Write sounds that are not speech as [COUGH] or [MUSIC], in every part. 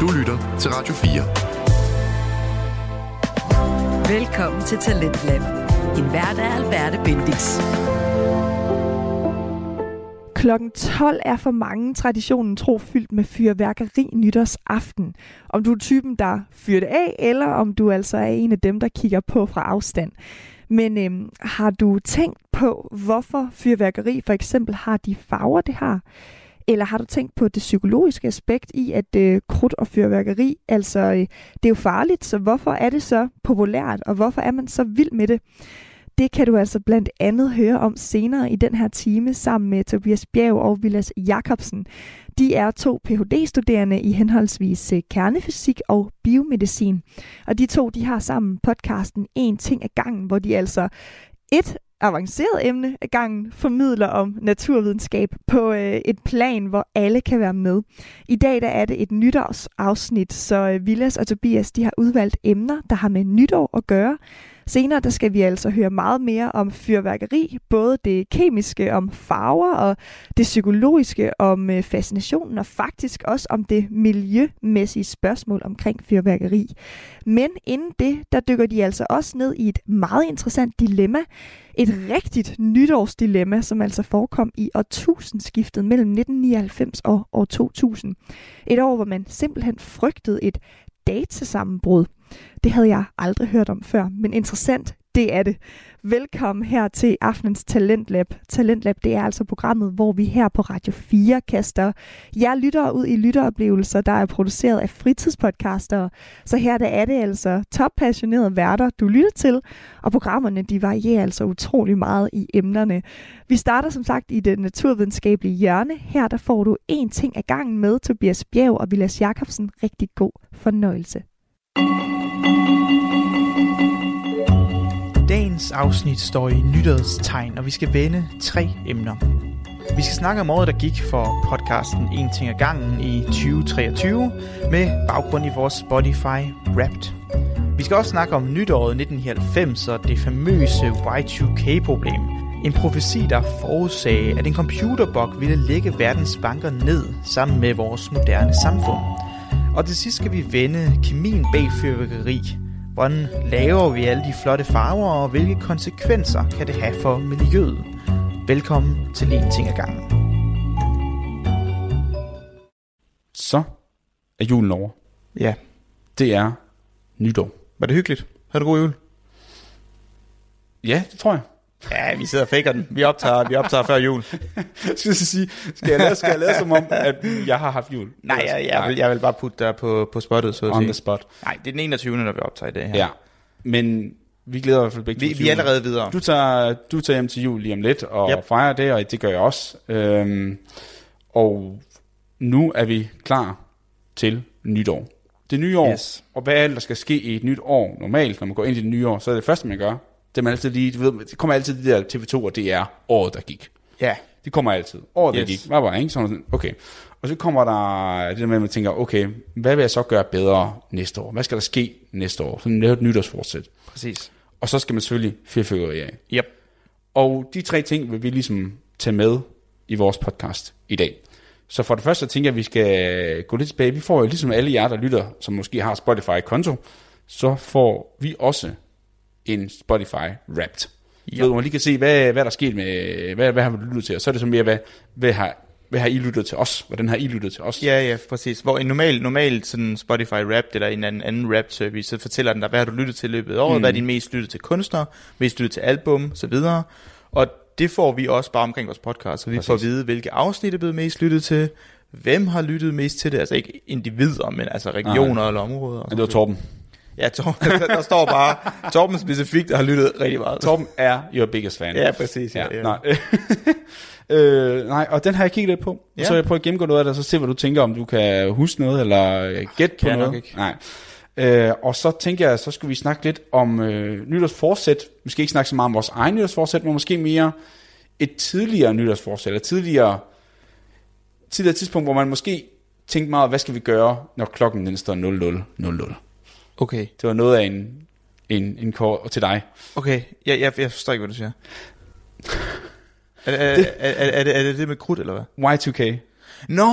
Du lytter til Radio Velkommen til Talentlab. Din vært er Alberte Bendix. Klokken 12 er for mange traditionen tro fyldt med fyrværkeri nytårsaften. Om du er typen, der fyrer det af, eller om du altså er en af dem, der kigger på fra afstand. Men øhm, har du tænkt på, hvorfor fyrværkeri for eksempel har de farver, det har? Eller har du tænkt på det psykologiske aspekt i, at øh, krudt og fyrværkeri, altså øh, det er jo farligt, så hvorfor er det så populært, og hvorfor er man så vild med det? Det kan du altså blandt andet høre om senere i den her time sammen med Tobias Bjerg og Vilas Jakobsen. De er to Ph.D.-studerende i henholdsvis øh, kernefysik og biomedicin. Og de to, de har sammen podcasten En ting ad gangen, hvor de altså et avanceret emne ad gangen formidler om naturvidenskab på øh, et plan, hvor alle kan være med. I dag der er det et nytårsafsnit, så øh, Villas og Tobias de har udvalgt emner, der har med nytår at gøre. Senere der skal vi altså høre meget mere om fyrværkeri, både det kemiske om farver og det psykologiske om øh, fascinationen og faktisk også om det miljømæssige spørgsmål omkring fyrværkeri. Men inden det, der dykker de altså også ned i et meget interessant dilemma, et rigtigt nytårsdilemma, som altså forekom i årtusindskiftet mellem 1999 og år 2000. Et år, hvor man simpelthen frygtede et datasammenbrud. Det havde jeg aldrig hørt om før, men interessant, det er det. Velkommen her til aftenens Talentlab. Talentlab, det er altså programmet, hvor vi her på Radio 4 kaster jer lyttere ud i lytteroplevelser, der er produceret af fritidspodcastere. Så her der er det altså toppassionerede værter, du lytter til, og programmerne de varierer altså utrolig meget i emnerne. Vi starter som sagt i det naturvidenskabelige hjørne. Her der får du én ting ad gangen med Tobias Bjerg og Vilas Jakobsen. Rigtig god fornøjelse. Dagens afsnit står i nytårets tegn, og vi skal vende tre emner. Vi skal snakke om året, der gik for podcasten En ting ad gangen i 2023, med baggrund i vores Spotify Wrapped. Vi skal også snakke om nytåret 1990 og det famøse Y2K-problem. En profesi, der forudsagde, at en computerbog ville lægge verdens banker ned sammen med vores moderne samfund. Og til sidst skal vi vende kemien bag fyrværkeri. Hvordan laver vi alle de flotte farver, og hvilke konsekvenser kan det have for miljøet? Velkommen til En Ting ad gangen. Så er julen over. Ja, Det er nytår. var det hyggeligt? Havde du god jul? Ja, det tror jeg. Ja, vi sidder og faker den. Vi optager, vi optager før jul. [LAUGHS] Jeg skal så sige, skal jeg, lade, skal jeg lade som om, at jeg har haft jul? Nej, jeg, jeg, vil, jeg vil bare putte dig på, på spottet, så at On the sige. spot. Nej, det er den 21. når vi optager i dag her. Ja. Men vi glæder i hvert fald begge Vi, til vi er julen. allerede videre. Du tager, du tager hjem til jul lige om lidt og Yep. yep. fejrer det, og det gør jeg også. Øhm, og nu er vi klar til nytår. Det nye år, Yes. yes. og hvad er det, der skal ske i et nyt år? Normalt, når man går ind i det nye år, så er det første, man gør, det, er man altid lige, du ved, det kommer altid det der TV2 og DR, året der gik. Ja. Det kommer altid. Året, yes. Yes. det gik. Hvad var det, ikke? Sådan, sådan, okay. Og så kommer der det der med, at man tænker, okay, hvad vil jeg så gøre bedre næste år? Hvad skal der ske næste år? Sådan lave et nytårsfortsæt. Præcis. Og så skal man selvfølgelig fyrfyrkeri af. Yep. Og de tre ting vil vi ligesom tage med i vores podcast i dag. Så for det første så tænker jeg, at vi skal gå lidt tilbage. Vi får jo ligesom alle jer, der lytter, som måske har Spotify-konto, så får vi også en Spotify Wrapped. Ja. Ja. Ved, hvor man lige kan se, hvad, hvad der er sket med, hvad, hvad har du lyttet til, og så er det så mere, hvad, hvad, har, hvad har I lyttet til os? Hvordan har I lyttet til os? Ja, ja, præcis. Hvor en normal, normal sådan Spotify rap eller en anden, anden rap service, så fortæller den dig, hvad har du lyttet til i løbet af året, mm. hvad er din mest lyttet til kunstner, mest lyttet til album, så videre. Og det får vi også bare omkring vores podcast, så vi præcis. får at vide, hvilke afsnit er blevet mest lyttet til, hvem har lyttet mest til det, altså ikke individer, men altså regioner Nej. eller områder. Og Men det var Torben. Ja, Torben, der står bare, Torben specifikt har lyttet rigtig meget. Torben er your biggest fan. Ja, præcis. Ja, Ja, ja. Nej. [LAUGHS] øh, nej, og den har jeg kigget lidt på. Ja. Ja. Så vil jeg prøver at gennemgå noget af det, og så se, hvad du tænker, om du kan huske noget, eller øh, gætte på jeg noget. nok ikke. Nej. Øh, og så tænker jeg, så skulle vi snakke lidt om øh, nytårsforsæt. Vi skal ikke snakke så meget om vores egen nytårsforsæt, men måske mere et tidligere nytårsforsæt, eller tidligere, tidligere tidspunkt, hvor man måske tænkte meget, hvad skal vi gøre, når klokken den står 00.00. Okay, Det var noget af en, en, en kår til dig. okay. Jeg, jeg, jeg forstår ikke, hvad du siger. Er, er, er, er, er, det, er det det med krudt, eller hvad? Y2K. Nå,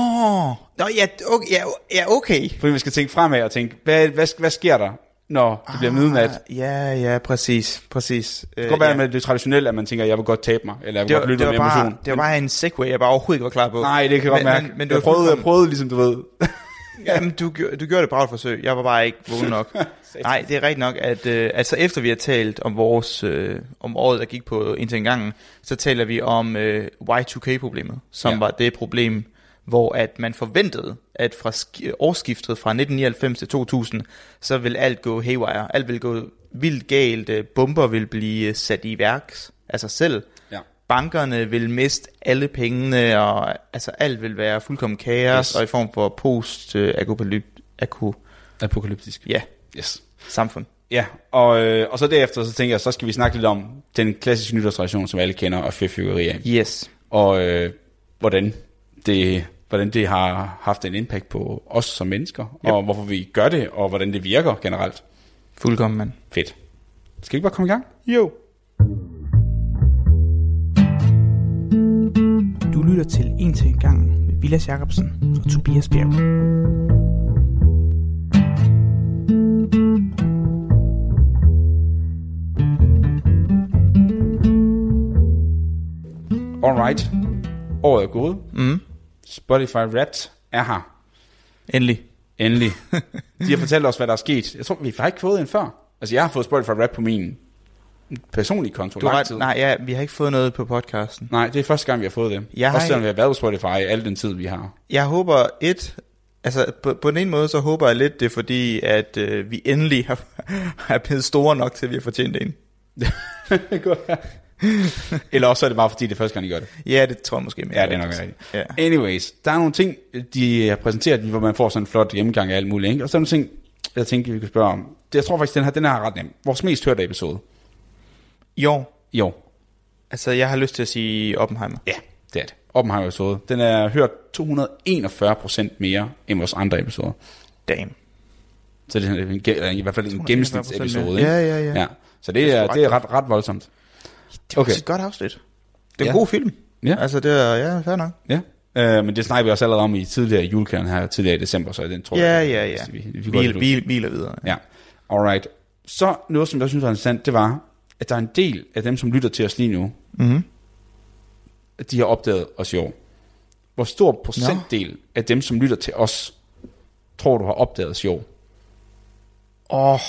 Nå ja, okay, ja, ja, okay. Fordi man skal tænke fremad og tænke, hvad, hvad, hvad sker der, når det bliver Ah, midnat? Det Ja, ja, præcis, præcis. Det kan godt være med det traditionelle, at man tænker, jeg vil godt tabe mig, eller jeg vil det var, godt lytte det var med emotion. bare, det var bare en segway, jeg bare overhovedet ikke var klar på. Nej, det kan jeg godt men, mærke. Men, men du jeg, prøvede, jeg prøvede. prøvede ligesom, du ved. Jamen, du, gjorde- du gjorde det bra et forsøg. Jeg var bare ikke vågen nok. Nej, det er rigtigt nok, at øh, altså efter vi har talt om vores øh, om året, der gik på indtil en gang, så taler vi om øh, Y2K-problemet, som Ja. ja. var det problem, hvor at man forventede, at fra sk- årsskiftet fra 1999 til 2000, så vil alt gå haywire. Alt vil gå vildt galt. øh, Bomber vil blive øh, sat i værks af sig selv. Ja. Bankerne vil miste alle pengene, og altså alt vil være fuldkommen kaos, Yes. yes. og i form for post-apokalypt, aku, Apokalyptisk. ja, Yes. samfund. Ja, og, øh, og så derefter, så tænker jeg, så skal vi snakke lidt om den klassiske nytårstradition, som alle kender, og fyrfykkeri af. Yes. og øh, hvordan, det, hvordan det har haft en impact på os som mennesker, yep. og hvorfor vi gør det, og hvordan det virker generelt. Fuldkommen, mand. Fedt. Skal vi ikke bare komme i gang? Jo. Du lytter til En til en gang med Vilas Jacobsen og Tobias Bjerg. Alright. Året er gået. Mm. Spotify Wrapped er her. Endelig. Endelig. De har fortalt os, hvad der er sket. Jeg tror, vi har ikke fået en før. Altså, jeg har fået Spotify Wrapped på min personlige konto. Du har lang ret. tid. Nej, ja, vi har ikke fået noget på podcasten. Nej, det er første gang, vi har fået det. Jeg har Også selvom ikke- vi har været på Spotify al den tid, vi har. [LAUGHS] Jeg håber et, altså på, på den ene måde så håber jeg lidt det, er fordi at øh, vi endelig har, [LAUGHS] er blevet store nok til, at vi har fortjent en. Eller også er det bare, fordi det er første gang, de gør det. Ja, det tror jeg måske mere. Ja, det er nok rigtigt. Ja. Anyways, der er nogle ting, de har præsenteret, hvor man får sådan en flot gennemgang af alt muligt. Ikke? Og så er der nogle ting, jeg tænkte, vi kunne spørge om. Det- Jeg tror faktisk, den her, den her er ret nem. Vores mest hørte episode. Jo, Jo, altså jeg har lyst til at sige Oppenheimer. ja, det er det. Oppenheimer episode. Den er hørt 241 procent mere end vores andre episoder. Damn. Så det er en, ge- eller i hvert fald en 241% gennemsnitsepisode. mere. ikke? Ja, ja, ja. ja. Så det, Det er er, sgu det er ret, ret voldsomt. Det var Okay. okay. et Altså, godt afsnit. Det er en Ja. god film. Ja. Altså det er, ja, fair nok. Ja. Øh, men det snakker vi også allerede om i tidligere julekalden her, tidligere i december, så den tror Ja, jeg... ja, ja. Vi, vi, vi går lidt Hvil, ud. hvil, hviler videre. Ja, alright. Så noget, som jeg synes var interessant, det var, at der er en del af dem, som lytter til os lige nu, Mm-hmm. at de har opdaget os i år. Hvor stor procentdel af dem, som lytter til os, tror du har opdaget os i år? Altså, Åh, oh,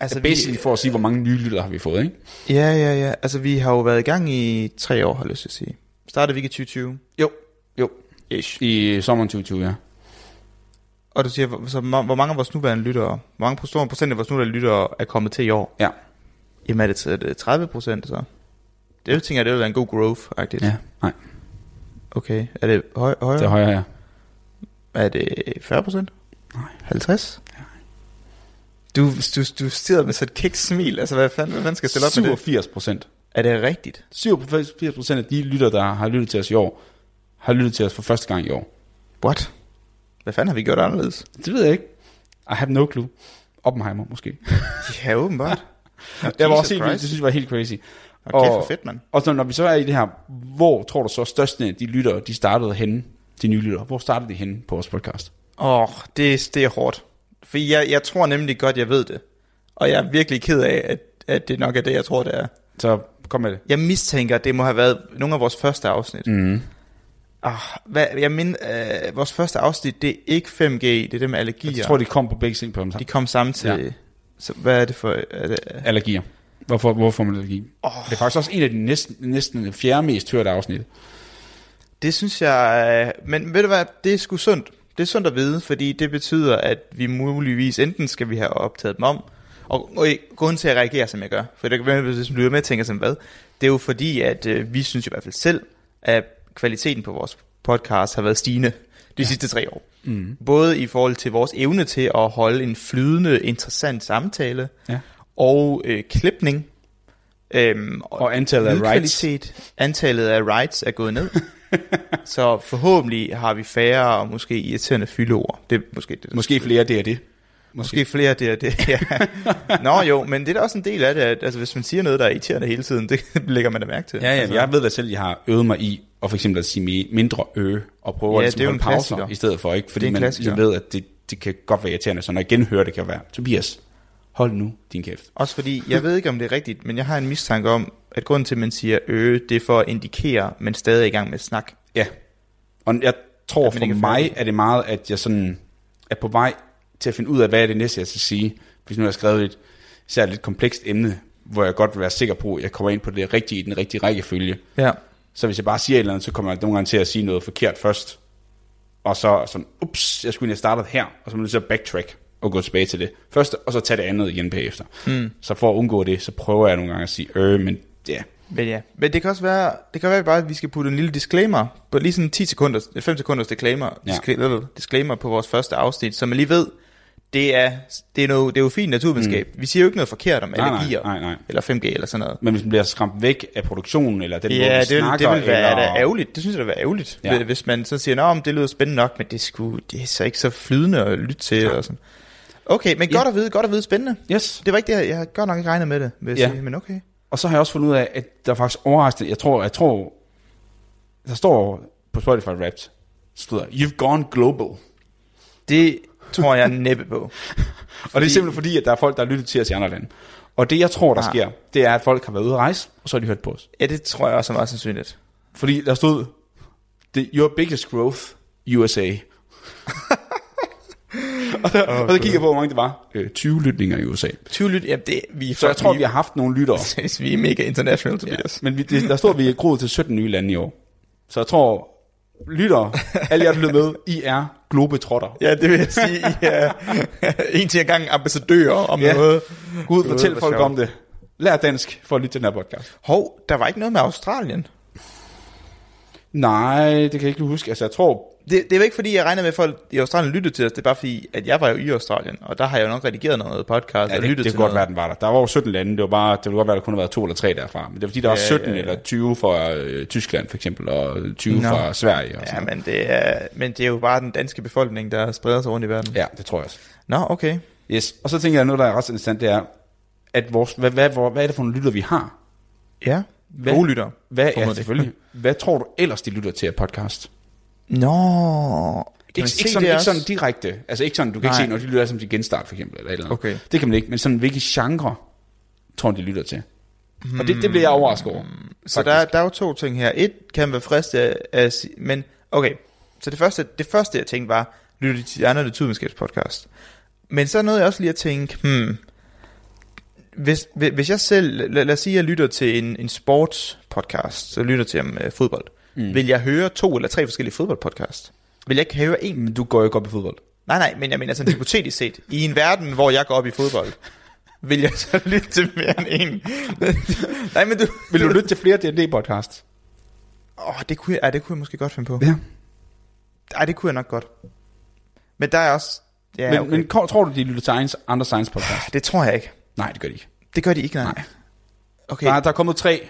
altså Så basically for at sige, hvor mange nye lyttere har vi fået, ikke? Ja, ja, ja. Altså vi har jo været i gang i tre år, har jeg lyst til at sige. Startede vi ikke i 2020? Jo, jo. Ish. I sommeren 2020, ja. Og du siger, hvor- så ma- hvor mange af vores nuværende lyttere, hvor mange stor procent af vores nuværende lyttere er kommet til i år? Ja. Jamen er det t- er det 30 procent så? Det jeg tænker jeg, det vil være en god growth-agtigt. Ja, nej, Okay, er det høj, højere? det er højere, ja. Er det 40 procent? Nej. 50? Du, du, du sidder med sådan et kæk smil. Altså, hvad fanden, hvad fanden skal jeg stille op med det? 87 procent. Er det rigtigt? 87 procent af de lytter, der har lyttet til os i år, har lyttet til os for første gang i år. What? Hvad fanden har vi gjort anderledes? Det ved jeg ikke. I have no clue. Oppenheimer, måske. Ja, [LAUGHS] åbenbart. Det var Jesus også helt vildt. Christ. Det synes jeg var helt crazy. Og kæft, hvor fedt, mand. Og så når vi så er i det her, hvor tror du så størstene af de lyttere, de startede henne, de nye lyttere, hvor startede de henne på vores podcast? Åh, oh, det, det er hårdt. For jeg, jeg tror nemlig godt, jeg ved det. Og jeg er virkelig ked af, at, at det nok er det, jeg tror, det er. Så kom med det. Jeg mistænker, at det må have været nogle af vores første afsnit. Mm. Ah, hvad, jeg mener, øh, vores første afsnit, det er ikke 5G, det er det med allergier. Jeg tror, de kom på begge ting på dem De sammen. kom samtidig. Ja. Så hvad er det for... Er det, Allergier. Hvorfor, hvorfor får man allergi? Åh. Det er faktisk også en af de næsten, næsten fjerde mest hørte afsnit. det synes jeg... øh, Men ved du hvad, det er sgu sundt. Det er sundt at vide, fordi det betyder, at vi muligvis enten skal vi have optaget dem om, og, og i- grunden til at reagere, som jeg gør, for det kan være, hvis du lytter med og tænker sådan, hvad? Det er jo fordi, at øh, vi synes i hvert fald selv, at kvaliteten på vores podcast har været stigende de ja. sidste tre år. Mm. Både i forhold til vores evne til at holde en flydende, interessant samtale, Ja. og øh, klipning, øhm, Og antallet af rights. Lydkvalitet. Antallet af rights er gået ned. [LAUGHS] så forhåbentlig har vi færre og måske irriterende fyldeord. Det er måske det. der- Måske flere, det er det. Måske. Måske flere det og [LAUGHS] det. Ja. Nå jo, men det er da også en del af det, at altså, hvis man siger noget, der er irriterende hele tiden, [LAUGHS] det lægger man da mærke til. Ja, ja, altså, jeg ved da selv, at jeg har øvet mig i at for eksempel at sige mi- mindre ø, og prøve Ja, at ligesom det er jo holde en pauser klassiker. i stedet for, ikke? Det er Fordi en man klassiker. ligesom ved, at det, det kan godt være irriterende, så når jeg genhører det, kan jeg være, Tobias, hold nu din kæft. Også fordi, jeg ved ikke om det er rigtigt, men jeg har en mistanke om, at grunden til, at man siger øh, det er for at indikere, men stadig er i gang med snak. Ja, og jeg tror At man for ikke er mig færdig. er det meget, at jeg sådan er på vej til at finde ud af, hvad er det næste, jeg skal sige. Hvis nu jeg har skrevet et især et lidt komplekst emne, hvor jeg godt vil være sikker på, at jeg kommer ind på det rigtige i den rigtige rækkefølge. Ja. Så hvis jeg bare siger et eller andet, så kommer jeg nogle gange til at sige noget forkert først. Og så sådan, ups, jeg skulle egentlig have startet her, og så er man nødt til at backtrack og gå tilbage til det første, og så tage det andet igen bagefter. Hmm. Mm. Så for at undgå det, så prøver jeg nogle gange at sige, øh, men ja, Men ja. Men det kan også være, det kan være bare, at vi skal putte en lille disclaimer, på lige sådan 10 sekunders, 5 sekunders disclaimer, Ja. disclaimer, disclaimer på vores første afsnit, så man lige ved, det er, det er, noget, det er jo fint naturvidenskab. Mm. Vi siger jo ikke noget forkert om nej, allergier, nej, nej. eller 5G eller sådan noget. men hvis man bliver skræmt væk af produktionen, eller den måde, Ja, vi det, vil, snakker, det vil være eller... da ærgerligt. Det synes jeg, det vil være ærgerligt. Ja. Ja. Hvis man så siger, at det lyder spændende nok, men det, skulle, det er så ikke så flydende at lytte til. Ja. Og sådan. Okay, men godt at vide, godt at vide, spændende. Yes. Det var ikke det, jeg- jeg havde godt nok ikke regnet med det, vil jeg Ja. ja. sige, men okay. Og så har jeg også fundet ud af, at der er faktisk overraskende, jeg tror, jeg tror, der står på Spotify Wrapped, stod der, you've gone global. Det tror jeg næppe på. Og det er simpelthen fordi, at der er folk, der har lyttet til os i andre lande. Og det, jeg tror, der Ah. sker, det er, at folk har været ude at rejse, og så har de hørt på os. Ja, det tror jeg også er meget sandsynligt. Fordi der stod, The, your biggest growth, [LAUGHS] USA. og, der, oh, og så kigger jeg på, hvor mange det var. Øh, 20 lytninger i USA. 20 lyt, ja, det, vi er Så jeg tror, vi har haft nogle [LAUGHS] lyttere. har... vi er [LAUGHS] mega international, Tobias. Ja. Men vi, det, der står, at vi er groet til 17 nye lande i år. Så jeg tror, lyttere, alle jer, der lytter med, I er globetrotter. Ja, det vil jeg sige. I [LAUGHS] er en til gang ambassadører om Ja. ja. noget. Gå ud og fortæl hvor folk sjovt. om det. Lær dansk for at lytte til den her podcast. Hov, der var ikke noget med Australien. Nej, det kan jeg ikke huske. Altså, jeg tror, Det, det er jo ikke fordi, jeg regner med, at folk i Australien lyttede til os. Det er bare fordi, at jeg var jo i Australien, og der har jeg jo nok redigeret noget podcast Ja, og det, lyttet til det kan noget. godt være, den var der. Der var jo 17 lande, det var bare, det ville godt være, der kun har været to eller tre derfra. Men det er fordi, der ja, er 17 ja, ja. eller 20 fra øh, Tyskland for eksempel, og 20 Nå. fra Sverige og Ja, sådan ja, men det, er, men det er jo bare den danske befolkning, der spreder sig rundt i verden. ja, det tror jeg også. Nå, okay. Yes. Og så tænker jeg, noget, der er ret interessant, det er, at vores, hvad, hvad, hvor, hvad er det for nogle lytter, vi har? Ja, Hvad- gode lytter. Hvad, ja, Formodentlig. selvfølgelig. Hvad tror du ellers, de lytter til af podcast? Nå, kan man Ikke, se ikke, sådan, det ikke også? sådan direkte. Altså ikke sådan, du kan Nej. ikke se, når de lytter som de genstart for eksempel. Eller et eller andet. Okay. Det kan man ikke, men sådan, hvilke genre tror du, de lytter til? Og det, det bliver jeg overrasket over. Så der, er- der er jo to ting her. Et kan være frist af, af si- men okay. Så det første, det første jeg tænkte var, lytte til de andre naturvidenskabspodcast. Men så nåede jeg også lige at tænke, hmm, hvis, hvis hvis jeg selv, lad, lad os sige, jeg lytter til en, en sportspodcast, så lytter til om øh, fodbold. Mm. Vil jeg høre to eller tre forskellige fodboldpodcast? Vil jeg ikke høre en? Men Du går jo ikke op i fodbold. Nej, nej, men jeg mener sådan hypotetisk set. I en verden, hvor jeg går op i fodbold, vil jeg så [LAUGHS] lytte til mere end en? [LAUGHS] nej, men du... Vil du lytte til flere D&D-podcast? Åh, oh, det, kunne jeg, ja, det kunne jeg måske godt finde på. Ja. Ej, det kunne jeg nok godt. Men der er også... Ja, men, okay. men ko- tror du, de lytter til egen, andre science podcast? Det tror jeg ikke. Nej, det gør de ikke. Det gør de ikke, nej. Nej. Okay, Okay. Der, er- der er kommet tre,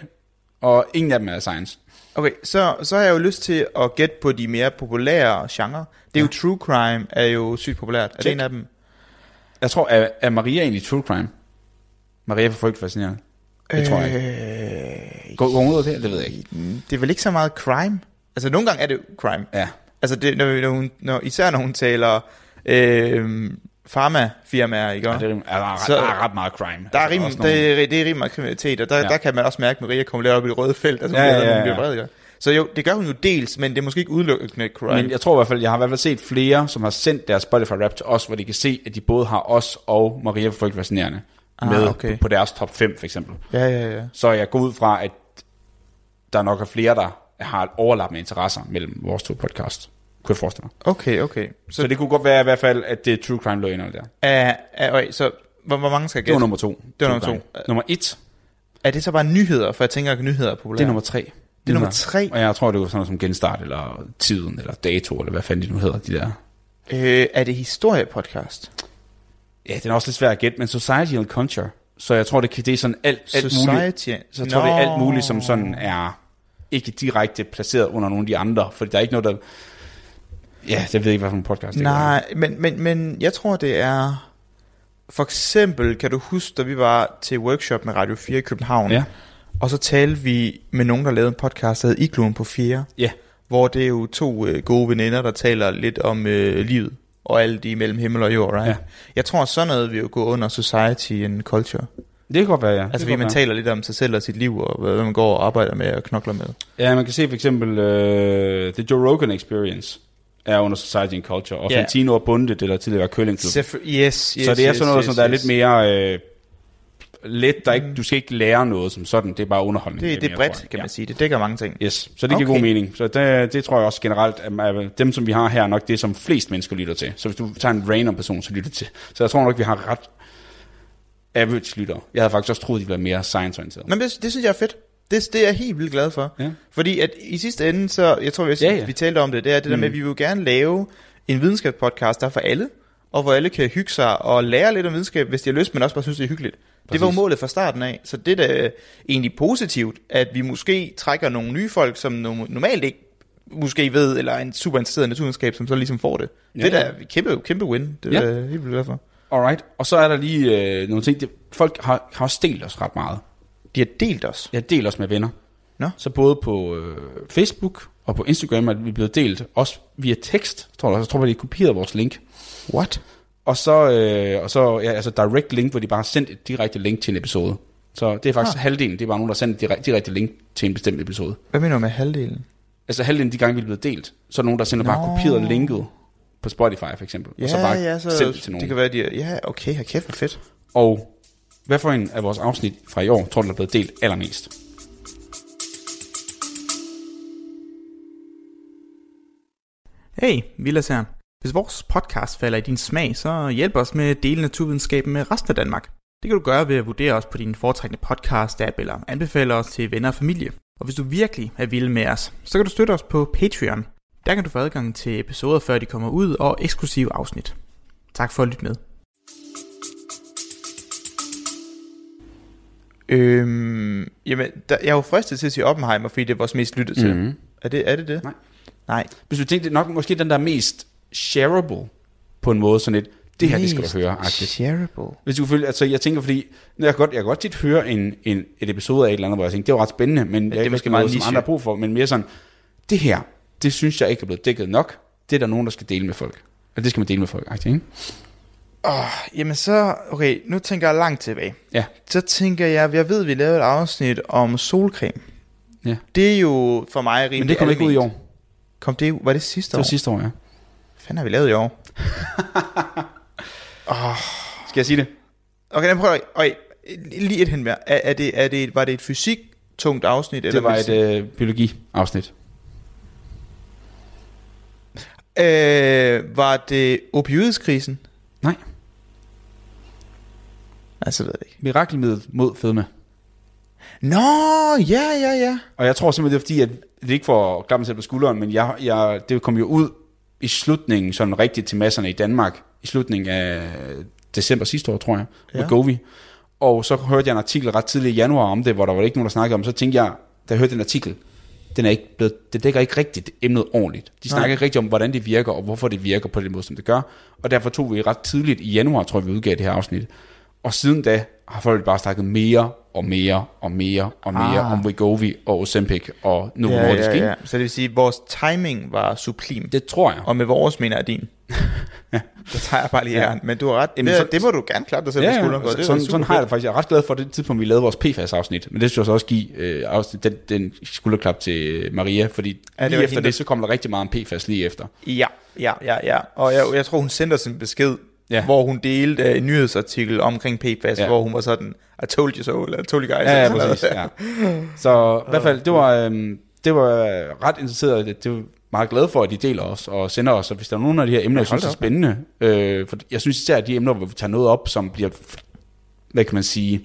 og ingen af dem er science. okay så, så har jeg jo lyst til at gætte på de mere populære genrer. Det er ja. jo true crime, er jo sygt populært. Er det Check. en af dem? Jeg tror, er, er Maria egentlig true crime? Maria er for frygt fascinerende. Det tror jeg ikke. Øh, Går, går hun ud af det? Det ved jeg ikke. det er vel ikke så meget crime? Altså, nogle gange er det jo crime. Ja. Altså, det, når, når, hun, når, især når hun taler øh, farmafirmaer, ikke? Ja, det er, rim- er, er, Så- så, der er ret meget crime. Der er Altså, rim, også nogle- det, er- det er rimelig meget kriminalitet, og der, Ja. ja. der kan man også mærke, at Maria kommer lidt op i det røde felt, altså Ja, ja, ja, ja, ja. hun bliver vred, ikke? Så jo, det gør hun jo dels, men det er måske ikke udelukkende crime. Men Men jeg, jeg tror i hvert fald, jeg har i hvert fald set flere, som har sendt deres Spotify rap til os, hvor de kan se, at de både har os og Maria for frygt fascinerende Ah, med okay. på, på deres top 5 for eksempel. ja, ja, ja. Så jeg går ud fra, at der nok er flere, der har et overlap med interesser mellem vores to podcast. Kunne jeg forestille mig. Okay, okay. Så, Så, så det kunne godt være i hvert fald, at det True Crime lå ind under der. er, er, okay, så hvor, hvor mange skal jeg Det gætte? var nummer to. Det var True nummer to. Crime. Nummer et, Er det så bare nyheder? For jeg tænker, at nyheder er populære. det er nummer tre. det er nummer Nyheder. tre. Og jeg tror, det var sådan noget som genstart, eller tiden, eller dato, eller hvad fanden de nu hedder, de der. Øh, er det historiepodcast? Ja, den er også lidt svær at gætte, men Society and Culture. Så jeg tror, det, kan, det er sådan alt, alt muligt. Society? Så jeg tror, det er alt muligt, som sådan er ikke direkte placeret under nogle af de andre, fordi der er ikke noget, der... Ja, jeg ved ikke, hvad for en podcast det er. Nej, men, men, men jeg tror, det er... For eksempel, kan du huske, da vi var til workshop med Radio 4 i København, Ja. og så talte vi med nogen, der lavede en podcast, der hed Igloen på 4, Ja. hvor det er jo to øh, gode veninder, der taler lidt om øh, livet, og alt det mellem himmel og jord, right? Ja. Jeg tror, sådan noget vil jo gå under society and culture. Det kan godt være, ja. Altså, det fordi kan man godt taler lidt om sig selv og sit liv, og hvad man går og arbejder med og knokler med. være. Ja, man kan se for eksempel øh, The Joe Rogan Experience er under Society and Culture, og Ja. Fantino og Bunde, det der tidligere var curlingklub. Yes, yes, så det er sådan noget, som der er lidt mere øh, let, der ikke, du skal ikke lære noget som sådan, det er bare underholdning. Det, det er mere, tror bredt, jeg. kan man ja. sige. Det dækker mange ting. Yes, så det giver Okay. god mening. Så det, det tror jeg også generelt, at man- dem som vi har her er nok det, som flest mennesker lytter til. Så hvis du tager en random person, så lytter til. Så jeg tror nok, vi har ret average lytter. Jeg havde faktisk også troet, de ville være mere science-orienterede. Nå, men det, det synes jeg er fedt. Det, det er jeg helt vildt glad for. Ja. Fordi at i sidste ende, så jeg tror, vi, Ja, Mm. ja. vi talte om det, det er det der med, at vi vil jo gerne lave en videnskabspodcast, der er for alle, og hvor alle kan hygge sig og lære lidt om videnskab, hvis de har lyst, men også bare synes, det er hyggeligt. Det var jo Præcis. målet fra starten af, så det er da egentlig positivt, at vi måske trækker nogle nye folk, som no- normalt ikke måske ved, eller er en super interesseret i naturvidenskab, som så ligesom får det. Ja. Ja, Det er ja. da kæmpe, kæmpe win, det er Ja. ja. helt vildt glad for. Alright, og så er der lige øh, nogle ting. Det, folk har, har også delt os ret meget. De har delt os. Jeg deler os med venner. Nå. Så både på øh, Facebook og på Instagram er vi blevet delt, også via tekst, tror jeg. Jeg tror, at de kopierede vores link. What? Og så, øh, og så ja, altså direct link, hvor de bare har sendt et direkte link til en episode. Så det er faktisk ah. halvdelen, det er bare nogen, der har sendt et direk- direkte link til en bestemt episode. Hvad mener du med halvdelen? Altså halvdelen af de gange, vi er blevet delt, så er der nogen, der sender bare Nå. kopieret linket på Spotify for eksempel. Ja, og så bare ja, så sendt det til nogen. det kan være, de er, ja, okay, har kæft, hvor fedt. Og hvad for en af vores afsnit fra i år, tror du, der er blevet delt allermest? Hey, Vilas her. Hvis vores podcast falder i din smag, så hjælp os med at dele naturvidenskaben med resten af Danmark. Det kan du gøre ved at vurdere os på din foretrækkende podcast-app eller anbefale os til venner og familie. Og hvis du virkelig er vild med os, så kan du støtte os på Patreon. Der kan du få adgang til episoder, før de kommer ud, og eksklusive afsnit. Tak for at lytte med. Øhm, jamen, der, jeg er jo fristet til at sige Oppenheimer, fordi det er vores mest lyttede til. Mhm. Er, det, er det det? Nej. Nej. Hvis du tænkte, det er nok måske den, der er mest shareable på en måde, sådan lidt, det her, det skal Mest du høre, agtigt. Shareable. Hvis du følge, altså jeg tænker, fordi jeg kan godt, jeg kan godt tit høre en, en, et episode af et eller andet, hvor jeg tænker, det var ret spændende, men det er er ikke måske måske meget noget, som niche. andre har brug for, men mere sådan, det her, det synes jeg ikke er blevet dækket nok, det er der nogen, der skal dele med folk. Og det skal man dele med folk, agtigt, ikke? Oh, jamen så, okay, nu tænker jeg langt tilbage. Ja. Så tænker jeg, jeg ved, vi lavede et afsnit om solcreme. Ja. Det er jo for mig rimelig Men det kom ikke ud i år. Det Kom det, var det sidste var år? sidste år, ja. Hvad fanden har vi lavet i år? Skal jeg sige det? Okay, lad mig prøve. Okay, lige et hen mere. Er, er det, er det, var det et fysik tungt afsnit? Det var et medicin? øh, biologi-afsnit. Øh, var det opioidskrisen? Nej. Altså, ved jeg ikke. Mirakelmiddel mod fedme. Nå, ja, ja, ja. Og jeg tror simpelthen, det er fordi, at det er ikke for at klappe mig selv på skulderen, men jeg, jeg, det kom jo ud i slutningen, sådan rigtigt til masserne i Danmark, i slutningen af december sidste år, tror jeg, med Ja. ja. Govi. Og så hørte jeg en artikel ret tidligt i januar om det, hvor der var ikke nogen, der snakkede om, så tænkte jeg, da jeg hørte den artikel, den er ikke blevet, det dækker ikke rigtigt emnet ordentligt. De Nej. snakker ikke rigtigt om, hvordan det virker, og hvorfor det virker på den måde, som det gør. Og derfor tog vi ret tidligt i januar, tror jeg, vi udgav det her afsnit. Og siden da har folk bare snakket mere og mere og mere og mere Ah. ah. om Wegovy og Ozempic og Novo ja, Nordisk. ja, ikke? ja. Så det vil sige, at vores timing var sublim. Det. Det tror jeg. Og med vores mener jeg [LAUGHS] din. Så tager jeg bare lige Ja. her. Men du har ret. Jamen, det, så- det må du gerne klappe dig selv på skulderen. for. så- Det er sådan, super sådan har jeg fedt. det faktisk. Jeg er ret glad for det tidspunkt, vi lavede vores PFAS-afsnit. Men det skulle jeg så også give øh, afsnit, den, den skulderklap til øh, Maria, fordi Ja, ja, det lige var efter hende, der- det, så kom der rigtig meget om PFAS lige efter. Ja, ja, ja, ja. Og jeg, jeg tror, hun sendte os en besked, ja. Ja. hvor hun delte øh, en nyhedsartikel omkring PFAS, ja. Ja. hvor hun var sådan, I told you so, eller I told you guys. Ja, ja eller Altså, sådan præcis. noget. Ja. Så i hvert fald, det var, øhm, det var øh, ret interesseret. Det, det var meget glad for, at de deler os og sender os. Og hvis der er nogen af de her emner, jeg synes da er op. spændende. Øh, for jeg synes især, at de emner, hvor vi tager noget op, som bliver, hvad kan man sige,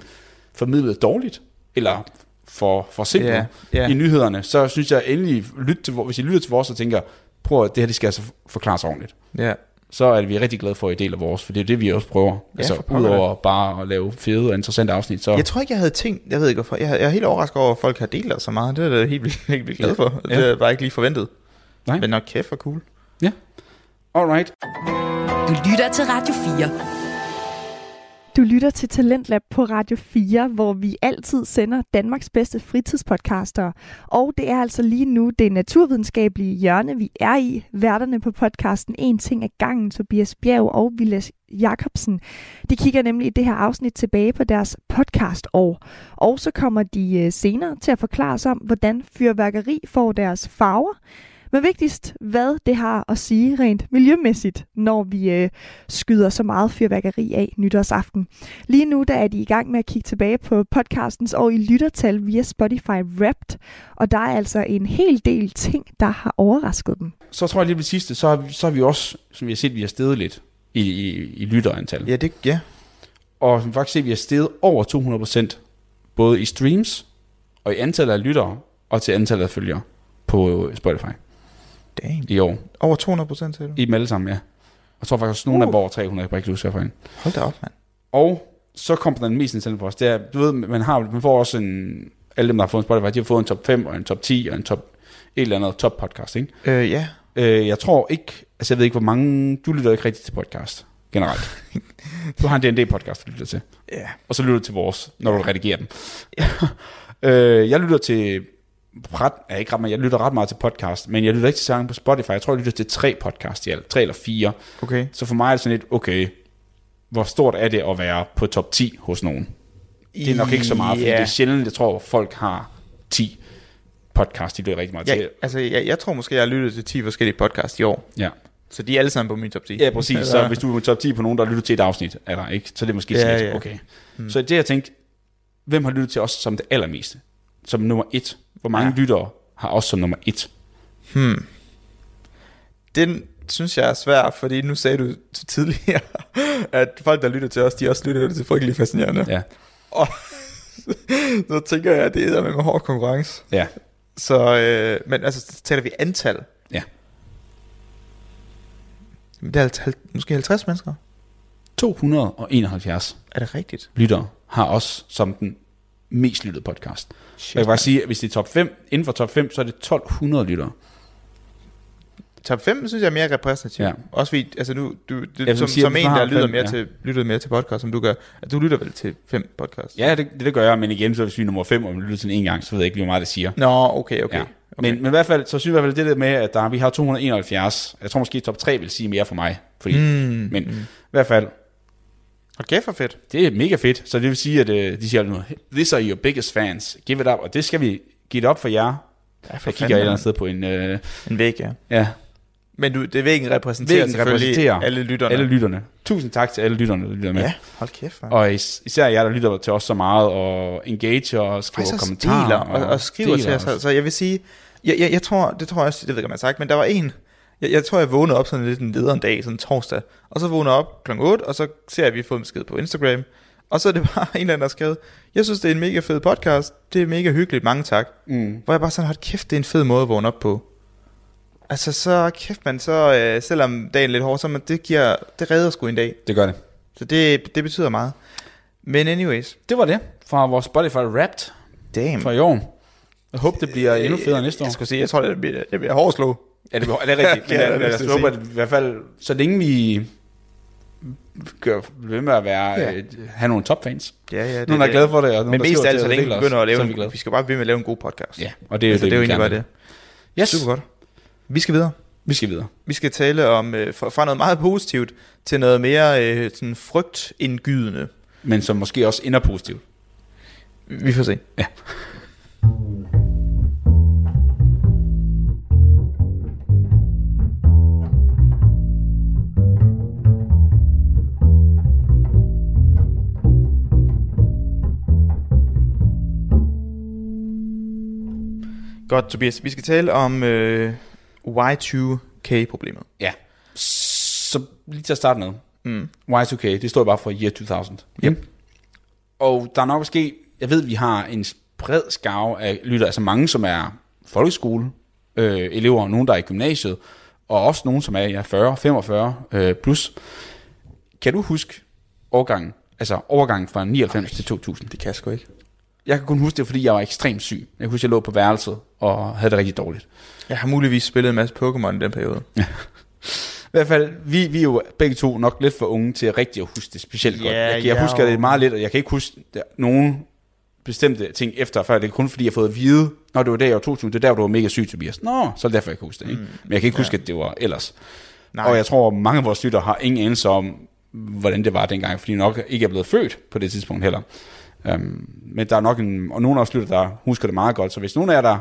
formidlet dårligt. Eller for, for simpelt Ja, ja. i nyhederne. Så synes jeg endelig, lyt til, vor- hvis I lytter til vores og tænker, prøv at det her, det skal altså forklares ordentligt ja. så er det, vi er rigtig glade for, at I deler vores, for det er det, vi også prøver. Ja, for altså, pokker da. udover bare at lave fede og interessante afsnit, så Jeg tror ikke, jeg havde tænkt, jeg ved ikke hvorfor, jeg, jeg er helt overrasket over, at folk har delt os så meget, det er jeg da helt vildt, [LAUGHS] helt vildt glad for, Ja. det er jeg bare ikke lige forventet. Nej. Men nok kæft for cool. ja. Alright. Du lytter til Radio 4. Du lytter til Talentlab på Radio 4, hvor vi altid sender Danmarks bedste fritidspodcaster. Og det er altså lige nu det naturvidenskabelige hjørne, vi er i. Værterne på podcasten En ting ad gangen, Tobias Bjerg og Vilas Jakobsen. De kigger nemlig i det her afsnit tilbage på deres podcastår. Og så kommer de øh, senere til at forklare os om, hvordan fyrværkeri får deres farver. Men vigtigst, hvad det har at sige rent miljømæssigt, når vi øh, skyder så meget fyrværkeri af nytårsaften. Lige nu der er de i gang med at kigge tilbage på podcastens år i lyttertal via Spotify Wrapped, og der er altså en hel del ting, der har overrasket dem. Så tror jeg lige ved det sidste, så har, vi, så har vi også, som vi har set, vi har steget lidt i, i, i lytterantal. Ja, det, ja. Og som vi faktisk se, vi er steget over 200%, både i streams, og i antallet af lyttere, og til antallet af følgere på Spotify Damn. i år. Over 200 procent, sagde du? I dem alle sammen, ja. Jeg tror faktisk, at nogen Uh. uh. er på over 300, jeg kan bare ikke huske, hvad for en. Hold da op, mand. Og så kom den mest interessante for os, det er, du ved, man, har, man får også en, alle dem, der har fået en Spotify, de har fået en top 5 og en top 10 og en top, et eller andet top podcast, ikke? Øh, ja. Øh, jeg tror ikke, altså jeg ved ikke, hvor mange, du lytter ikke rigtigt til podcast, generelt. [LAUGHS] du har en D&D podcast, du lytter til. Ja. Og så lytter du til vores, når du redigerer dem. [LAUGHS] øh, jeg lytter til ret, ja, ikke ret meget, jeg lytter ret meget til podcast, men jeg lytter ikke til sange på Spotify. Jeg tror, jeg lytter til tre podcast i alt, tre eller fire. Okay. Så for mig er det sådan lidt, okay, hvor stort er det at være på top 10 hos nogen? Det er nok ikke så meget, fordi Ja. det er sjældent, jeg tror, folk har 10 podcast, de lytter rigtig meget Ja, til. altså, jeg, jeg tror måske, jeg har lyttet til 10 forskellige podcasts i år. Ja. Så de er alle sammen på min top Altså, 10. Ja, præcis. Så hvis du er på top 10 på nogen, der lytter til et afsnit, er der, ikke? så det er måske sådan Ja, lidt, ja. okay. Så det, jeg tænkte, hvem har lyttet til os som det allermeste? Som nummer et. Hvor mange Ja. ja. lyttere har os som nummer et? Hmm. Den synes jeg er svær, fordi nu sagde du t- tidligere, [LAUGHS] at folk, der lytter til os, de også lytter til frygtelig fascinerende. Ja. Og [LAUGHS] så tænker jeg, at det er med hård konkurrence. Ja. Så, øh, men altså, så taler vi antal. Ja. Jamen, det er alt- halv- måske 50 mennesker. 271 Er det rigtigt? lyttere har os som den mest lyttede podcast. Shit, jeg kan bare sige, at hvis det er top 5, inden for top 5, så er det 1200 lyttere. Top 5 synes jeg er mere repræsentativ. Ja. Ja. Også fordi, altså nu, du, du vil som, sige, som hvis en, du har der lytter fem, mere, ja. ja. til, lytter mere til podcast, som du gør, at du lytter vel til fem podcasts? Ja, det, det, det gør jeg, men igen, så hvis vi er nummer 5, og vi lytter til den en gang, så ved jeg ikke lige, hvor meget det siger. Nå, okay, okay. Ja. okay. Men, men i hvert fald, så synes jeg i hvert fald det der med, at der, vi har 271. Jeg tror måske top 3 vil sige mere for mig. Fordi, Mm, mm, men i hvert fald, Og kæft for fedt. det er mega fedt. Så det vil sige, at øh, de siger nu, these are your biggest fans. Give it up. Og det skal vi give det op for jer. Ja, for Jeg kigger et eller andet sted på en... Øh, En væg, ja. ja, Men du, det er væggen repræsenterer Væggen selvfølgelig repræsenterer alle lytterne. alle lytterne. Tusind tak til alle lytterne, der lytter med. Ja, hold kæft, man. Og is- især jer, der lytter til os så meget, og engager og skriver faktisk også kommentarer. deler og, og skriver til os. altså. Så, så jeg vil sige, jeg, jeg, jeg tror, det tror jeg også, det ved jeg ikke, om jeg har sagt, men der var en, jeg, jeg tror, jeg vågnede op sådan lidt en lederen dag, sådan torsdag, og så vågnede jeg op kl. 8, og så ser jeg, at vi har fået en besked på Instagram, og så er det [LAUGHS] bare en eller anden, der har skrevet, jeg synes, det er en mega fed podcast, det er mega hyggeligt, mange tak. Mm. Hvor jeg bare sådan, hold kæft, det er en fed måde at vågne op på. Altså så kæft man, så øh, selvom dagen er lidt hård, så man, det, giver, det redder sgu en dag. Det gør det. Så det, det betyder meget. Men anyways, Det var det fra vores Spotify Wrapped damn. for i år. Jeg håber, det bliver endnu federe næste Mm. år. Øh, Jeg skulle sige, jeg tror, det bliver, det bliver hårdt slå. Ja, det, er- det er rigtigt. Men [LAUGHS] Ja, det er jeg, jeg, vist at jeg håber, at i hvert fald, så længe vi gør ved med at være, Ja. ja. øh, have nogle topfans. Ja, ja, det, Nogen, der er glade for det, og nogen, Men der mest skriver af alt, til så os og længe vi deler os, begynder at så lave, er vi glade. vi skal bare blive med at lave en god podcast. Ja, og det er jo altså, det, er jo egentlig bare det. Yes, Super godt. Vi skal videre. vi skal videre. Vi skal tale om øh, fra, fra noget meget positivt til noget mere øh, sådan frygtindgydende. Men som måske også ender positivt. Vi får se. Ja. Godt, Tobias. Vi skal tale om øh, Y2K-problemet. Ja. Så lige til at starte med. Mm. Y2K, det står jo bare for Year 2000. Yep. Og der er nok måske, jeg ved, vi har en bred skave af lytter, altså mange, som er folkeskole, øh, elever, nogen, der er i gymnasiet, og også nogen, som er ja, 40, 45 øh, plus. Kan du huske overgangen? Altså overgangen fra 99 Ej. til 2000? Det kan jeg sgu ikke. Jeg kan kun huske det, fordi jeg var ekstremt syg. Jeg kan huske, jeg lå på værelset og havde det rigtig dårligt. Jeg har muligvis spillet en masse Pokémon i den periode. hvert fald, vi, vi er jo begge to nok lidt for unge til at rigtig at huske det specielt godt. Ja, Jeg, kan- jeg ja, husker det og- meget lidt, og jeg kan ikke huske der, nogen bestemte ting efter og før. Det er kun fordi, jeg har fået at vide, når det var der i år 2000, det er der, du var mega syg, Tobias. Nå, så er det derfor, jeg kan huske det. Ikke? Men jeg kan ikke huske, at det var ellers. Nej. Mm. Nej. Og jeg tror, mange af vores lytter har ingen anelse om, hvordan det var dengang, fordi nok ikke er blevet født på det tidspunkt heller. Um, men der er nok en, og nogle af os lytter, der husker det meget godt, så hvis nogen af jer, der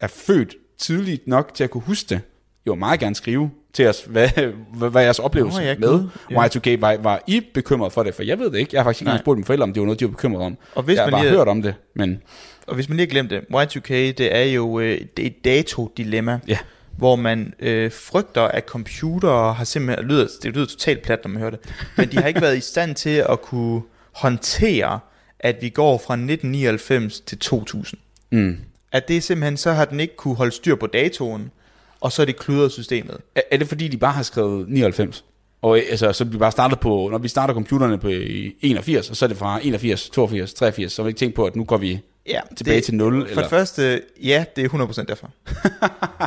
er født tidligt nok til at kunne huske det, jo meget gerne skrive til os, hvad, hvad, hvad jeres oplevelse Nå, ja, oh, cool. med Y2K var. Var I bekymret for det? For jeg ved det ikke. Jeg har faktisk ikke Nej. engang spurgt mine forældre, om det var noget, de var bekymret om. Og hvis jeg har man bare lige- hørt om det, men Og hvis man lige har glemt det, Y2K, det er jo øh, det er et datodilemma, Ja. hvor man øh, frygter, at computere har simpelthen, det lyder, det lyder totalt plat, når man hører det, [LAUGHS] men de har ikke været i stand til at kunne håndtere, at vi går fra 1999 til 2000. mm. At det simpelthen, så har den ikke kunne holde styr på datoen, og så er det kludret systemet. er, er det fordi, de bare har skrevet 99? Og øh, altså, så vi bare starter på, når vi starter computerne på øh, 81, og så er det fra 81, 82, 83, så har vi ikke tænkt på, at nu går vi Ja, tilbage det, til 0. For det første, ja, det er 100% [LAUGHS] derfor.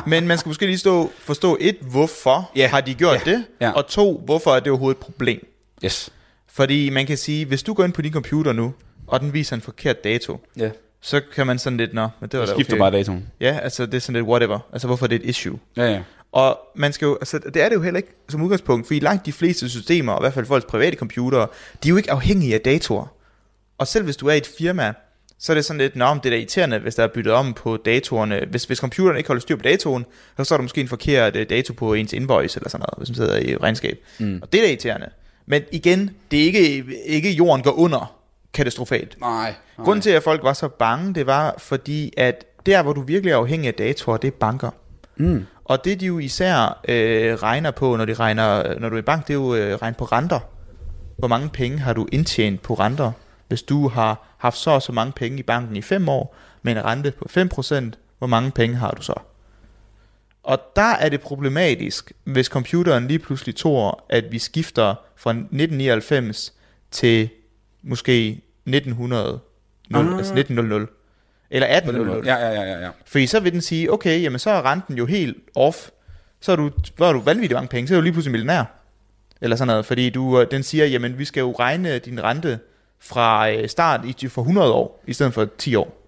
Men man skal måske lige stå, forstå et, hvorfor Ja, ja, har de gjort ja, det, ja. ja. og to, hvorfor er det overhovedet et problem. Yes. Fordi man kan sige, hvis du går ind på din computer nu, og den viser en forkert dato, Ja. så kan man sådan lidt, nå, men det var Så da skifter okay. bare datoen. Ja, altså det er sådan lidt whatever. Altså hvorfor er det et issue? Ja, ja. Og man skal jo, altså, det er det jo heller ikke som udgangspunkt, fordi langt de fleste systemer, og i hvert fald folks private computere, de er jo ikke afhængige af datoer. Og selv hvis du er i et firma, så er det sådan lidt, nå, men det er da irriterende, hvis der er byttet om på datorerne. Hvis, hvis computeren ikke holder styr på datoen, så står der måske en forkert øh, dato på ens invoice eller sådan noget, hvis man sidder i regnskab. Mm. Og det er da irriterende. Men igen, det er ikke, ikke jorden går under katastrofalt. Nej. nej. Grunden til, at folk var så bange, det var fordi, at der, hvor du virkelig er afhængig af datoer, det er banker. Mm. Og det de jo især øh, regner på, når de regner, når du er i bank, det er jo øh, regn på renter. Hvor mange penge har du indtjent på renter? Hvis du har haft så og så mange penge i banken i 5 år, med en rente på 5%, hvor mange penge har du så? Og der er det problematisk, hvis computeren lige pludselig tror, at vi skifter fra 1999 til måske 1900, Ah. altså 1900, eller På den 1800. måde. Ja, ja, ja, ja, ja. Fordi så vil den sige, okay, jamen så er renten jo helt off. Så er du, så er du vanvittigt mange penge, så er du lige pludselig millionær. Eller sådan noget, fordi du, øh, den siger, jamen vi skal jo regne din rente fra øh, start i, for 100 år, i stedet for 10 år.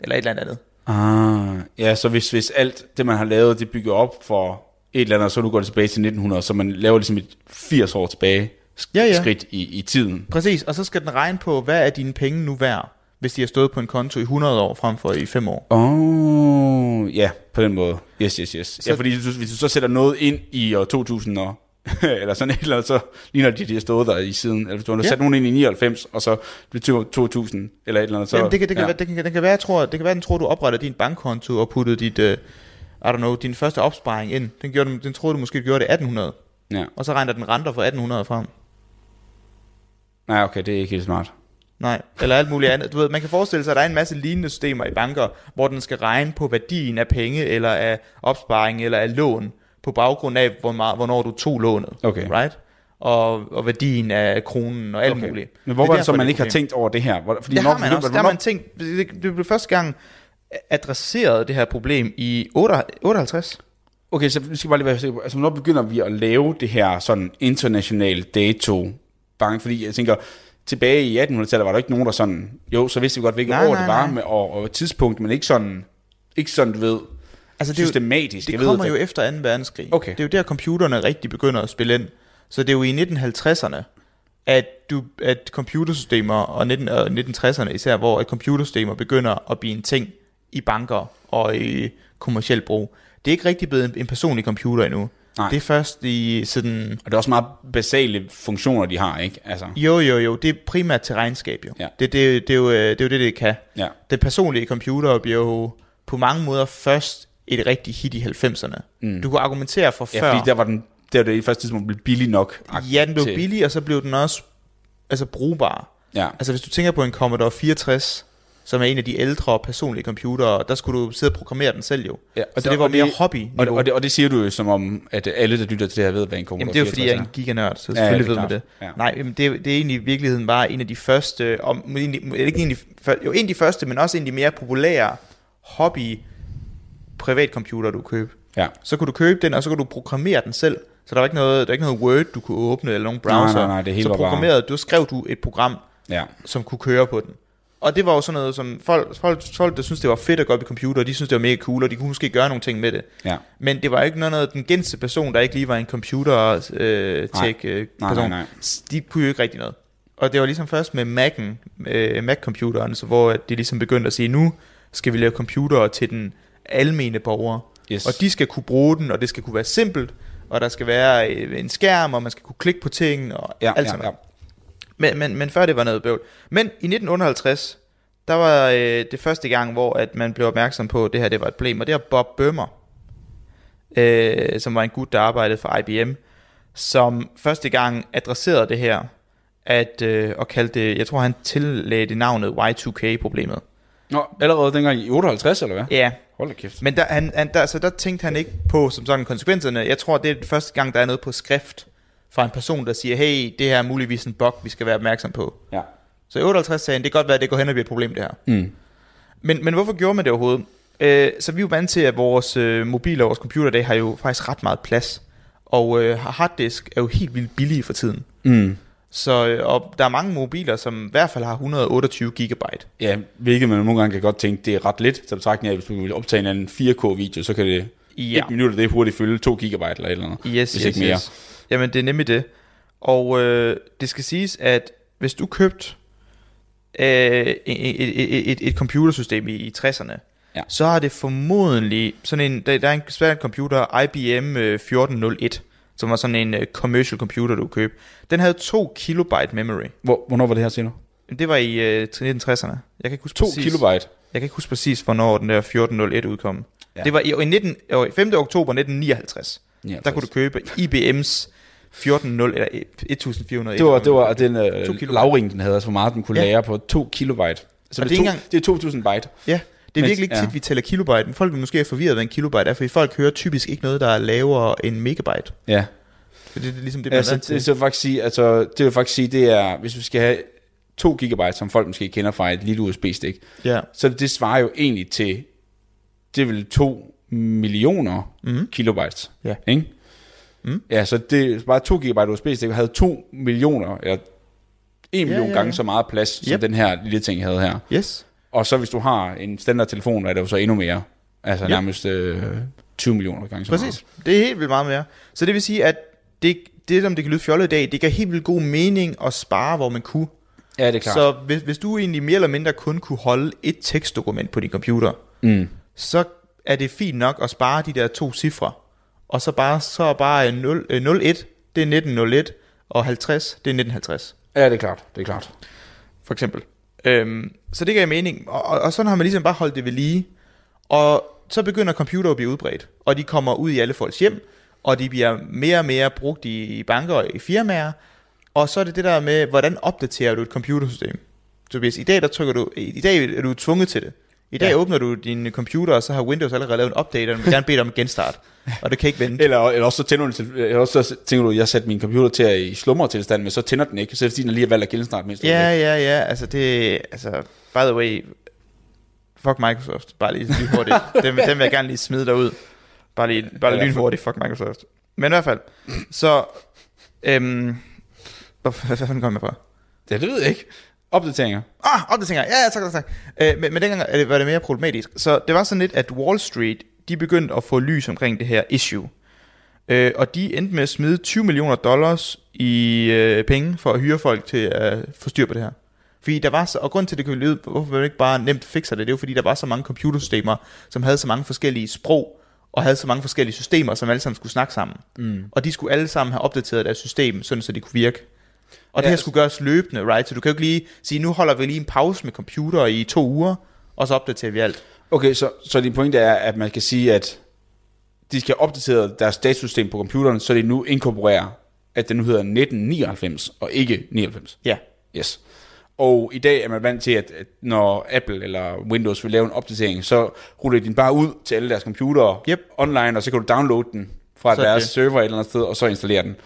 Eller et eller andet andet. Ah, ja, så hvis, hvis alt det, man har lavet, det bygger op for et eller andet, så nu går det tilbage til 1900, så man laver ligesom et 80 år tilbage sk- Ja, ja. skridt i, i tiden. Præcis, og så skal den regne på, hvad er dine penge nu værd, hvis de har stået på en konto i 100 år frem for i 5 år. Åh, oh, ja, på den måde. Yes, yes, yes. Så, ja, Så- fordi hvis du, hvis du så sætter noget ind i år 2000 og, [LAUGHS] eller sådan et eller andet, så ligner det, de har stået der i siden. Eller hvis du har ja. Ja. sat nogen ind i 99, og så blev det 2000 eller et eller andet, så... Så, jamen, det kan, det, kan ja. ja. være, det, kan, det kan være, jeg tror, det kan være, den tror, du opretter din bankkonto og puttede dit, øh, I don't know, din første opsparing ind. Den, gjorde, den, den troede, du måske gjorde det 1800. Ja. Og så regner den renter fra 1800 frem. Nej, okay, det er ikke helt smart. Nej, eller alt muligt andet. Du ved, man kan forestille sig, at der er en masse lignende systemer i banker, hvor den skal regne på værdien af penge, eller af opsparing, eller af lån, på baggrund af, hvor meget, hvornår du tog lånet. Okay. Right? Og, og værdien af kronen og alt okay. muligt. Men hvor Det er var det så, derfor, man er ikke har et problem. tænkt over det her? Hvor- Fordi Det når- har man også. Der hvornår- har man tænkt, det, det blev første gang adresseret det her problem i 58. Okay, så vi skal bare lige være sikre på, altså når begynder vi at lave det her sådan international dato bank? Fordi jeg tænker, tilbage i 1800-tallet var der ikke nogen, der sådan, jo, så vidste vi godt, hvilket Nej, år nej, det var, nej. med, og, og tidspunkt, men ikke sådan, ikke sådan, du ved, Altså, det er jo- systematisk. Det Jeg kommer ved, jo at- efter 2. verdenskrig. Okay. Det er jo der, computerne rigtig begynder at spille ind. Så det er jo i 1950'erne, at, du, at computersystemer, og, 19, og 1960'erne især, hvor at computersystemer begynder at blive en ting i banker og i kommersiel brug. Det er ikke rigtig blevet en, en personlig computer endnu. Nej. Det er først i sådan... Og det er også meget basale funktioner, de har, ikke? Altså, Jo, jo, jo. Det er primært til regnskab, jo. Ja. Det, det, det, er jo øh, det er jo det, det kan. ja. Den personlige computer bliver jo på mange måder først et rigtig hit i 90'erne. Mm. Du kunne argumentere for før... ja, fordi der var den, der var det første tidspunkt, blev billig nok. Ja, den blev til- billig, og så blev den også altså, brugbar. Ja. Altså hvis du tænker på en Commodore 64, som er en af de ældre personlige computere, der skulle du sidde og programmere den selv jo. Ja, så det var mere hobby Og, og, det, og det siger du jo som om, at øh, alle, der lytter til det her, ved, hvad en Jamen Commodore det er jo fordi, jeg er 64 en giganørd, så Ja, ja, selvfølgelig det er ved man det. klart. Ja. Ja. Nej, jamen, det, er- det er egentlig i virkeligheden bare en af de første, og, må- egentlig, må- ikke egentlig, før- jo en af de første, men også en af de mere populære hobby privatcomputer, du køb. Ja. Så kunne du købe den, og så kunne du programmere den selv. Så der var ikke noget, der var ikke noget Word, du kunne åbne, eller nogen browser. nej, nej, det hele så var bare- programmerede, du skrev du et program, Ja. som kunne køre på den. Og det var jo sådan noget, som folk, folk, folk der synes det var fedt at gå op i computer, de synes det var mega cool, og de kunne måske gøre nogle ting med det. Ja. Men det var ikke noget, noget den gængse person, der ikke lige var en computer øh, tech øh, nej, person, nej. s- de kunne jo ikke rigtig noget. Og det var ligesom først med Mac'en, øh, Mac-computeren, så hvor at de ligesom begyndte at sige, nu skal vi lave computere til den almene borger. Yes. Og de skal kunne bruge den, og det skal kunne være simpelt, og der skal være øh, en skærm, og man skal kunne klikke på ting, og ja, alt sådan ja, noget. ja. Men, men, men før det var noget bøvl. Men i 1958, der var øh, det første gang, hvor at man blev opmærksom på, at det her det var et problem, og det var Bob Bømmer, øh, som var en gut, der arbejdede for IBM, som første gang adresserede det her, at, øh, og kaldte det, jeg tror han tillagde det navnet Y2K-problemet. Nå, allerede dengang i 58, eller hvad? Ja, Hold da kæft. men der, han, han, der, så der tænkte han ikke på som sådan konsekvenserne. Jeg tror, det er den første gang, der er noget på skrift fra en person, der siger, hey, det her er muligvis en bug, vi skal være opmærksom på. Ja. Så i 58 sagde han, det kan godt være, at det går hen og bliver et problem, det her. Mm. Men, men hvorfor gjorde man det overhovedet? Øh, så vi er jo vant til, at vores øh, mobiler og vores computer, det har jo faktisk ret meget plads. Og øh, harddisk er jo helt vildt billige for tiden. Mm. Så øh, og der er mange mobiler, som i hvert fald har 128 gigabyte. Ja, hvilket man nogle gange kan godt tænke, det er ret lidt, så betragtning af, hvis du vil optage en anden 4K-video, så kan det Ja. ja. et minut af det hurtigt fylde 2 gigabyte eller et eller andet, Yes, hvis yes, ikke mere. Yes. Jamen, det er nemlig det. Og øh, det skal siges, at hvis du købte øh, et, e, et, et, et computersystem i, i 60'erne, Ja. så har det formodentlig sådan en, der, der er en svær computer, IBM øh, 1401, som var sådan en øh, commercial computer, du kunne købe. Den havde 2 kilobyte memory. Hvor, hvornår var det her senere? Det var i øh, 1960'erne. Jeg kan ikke huske 2 præcis. kilobyte. Jeg kan ikke huske præcis, hvornår den der 1401 udkom. Ja. Ja. Det var i, i 19, øh, 5. oktober 1959. Der kunne du købe IBM's 14.0 eller 1401. det var, det var og den øh, To kilobyte. lavring, den havde, altså hvor meget den kunne Ja. lære på 2 kilobyte. Så Og det er det, er to, ikke engang- det er 2000 byte. Ja, det er Men- virkelig ikke tit, ja. vi tæller kilobyte, men folk er måske forvirret, hvad en kilobyte er, fordi folk hører typisk ikke noget, der er lavere end megabyte. Ja. For det, det er ligesom det, man Altså, er vant det, til. så vil jeg faktisk sige, altså, det vil jeg faktisk sige, det er, hvis vi skal have 2 gigabyte, som folk måske kender fra et lille USB-stik, Ja. så det svarer jo egentlig til, det vil 2 millioner mm. kilobytes. Mhm. Ja. Ikke? Mm. Ja, så det bare 2 gigabyte USB-stik havde 2 millioner, eller 1 million ja, ja. gange så meget plads, yep. som Yep. den her lille ting havde her. Yes. Og så hvis du har en standardtelefon, er det jo så endnu mere. Altså Ja. ja. nærmest øh, 20 millioner gange så Præcis. Det er helt vildt meget mere. Så det vil sige, at det, det som det kan lyde fjollet i dag, det gav helt vildt god mening at spare, hvor man kunne. meget. Ja, det er klart. Så Så, hvis, hvis du egentlig mere eller mindre kun kunne holde et tekstdokument på din computer, mm. så er det fint nok at spare de der to cifre. Og så bare, så er bare øh, 0, øh, 01, det er 1901, og 50, det er 1950, Ja, det er klart. Det er klart. for eksempel. Øhm, så det gav mening, og, og, og sådan har man ligesom bare holdt det ved lige. Og så begynder computer at blive udbredt, og de kommer ud i alle folks hjem, og de bliver mere og mere brugt i, i banker og i firmaer. Og så er det det der med, hvordan opdaterer du et computersystem? Tobias, i dag, der trykker du, i dag er du tvunget til det. I dag Ja. ja. åbner du din computer, og så har Windows allerede lavet en update, og den vil gerne bede dig om en genstart. Og det kan ikke vente. Eller, eller også så tænder du, til- eller også så tænker du, jeg satte min computer til at i slumretilstand, men så tænder den ikke, så er det fordi, den lige har valgt at genstarte mindst. Ja, ja, ja, altså det, altså, by the way, fuck Microsoft, bare lige, lige hurtigt. dem, dem vil jeg gerne lige smide derud. Bare lige, bare lige Eller- hurtigt, fuck Microsoft. Men i hvert fald, så, øhm, hvor, hvad fanden kom jeg fra? ja, det ved jeg ikke. Opdateringer. Ah, op det tænker jeg. Ja, ja, tak, tak, tak. Øh, men, men dengang er det- var det mere problematisk. Så det var sådan lidt, at Wall Street, de begyndte at få lys omkring det her issue. Øh, og de endte med at smide 20 millioner dollars i øh, penge for at hyre folk til at få styr på det her. Fordi der var så, og grund til, at det kunne lyde, hvorfor man ikke bare nemt fikser det, det er jo fordi, der var så mange computersystemer, som havde så mange forskellige sprog, og havde så mange forskellige systemer, som alle sammen skulle snakke sammen. Mm. Og de skulle alle sammen have opdateret deres system, sådan så det kunne virke. Og det Ja, her skulle gøres løbende, right? Så du kan jo ikke lige sige, nu holder vi lige en pause med computer i to uger, og så opdaterer vi alt. Okay, så, så din pointe er, at man kan sige, at de skal opdatere deres datasystem på computeren, så de nu inkorporerer, at den nu hedder 1999 og ikke 99. Ja. Yes. Og i dag er man vant til, at at når Apple eller Windows vil lave en opdatering, så ruller de den bare ud til alle deres computere Yep. online, og så kan du downloade den fra Så så er deres det. server et eller andet sted, og så installere den.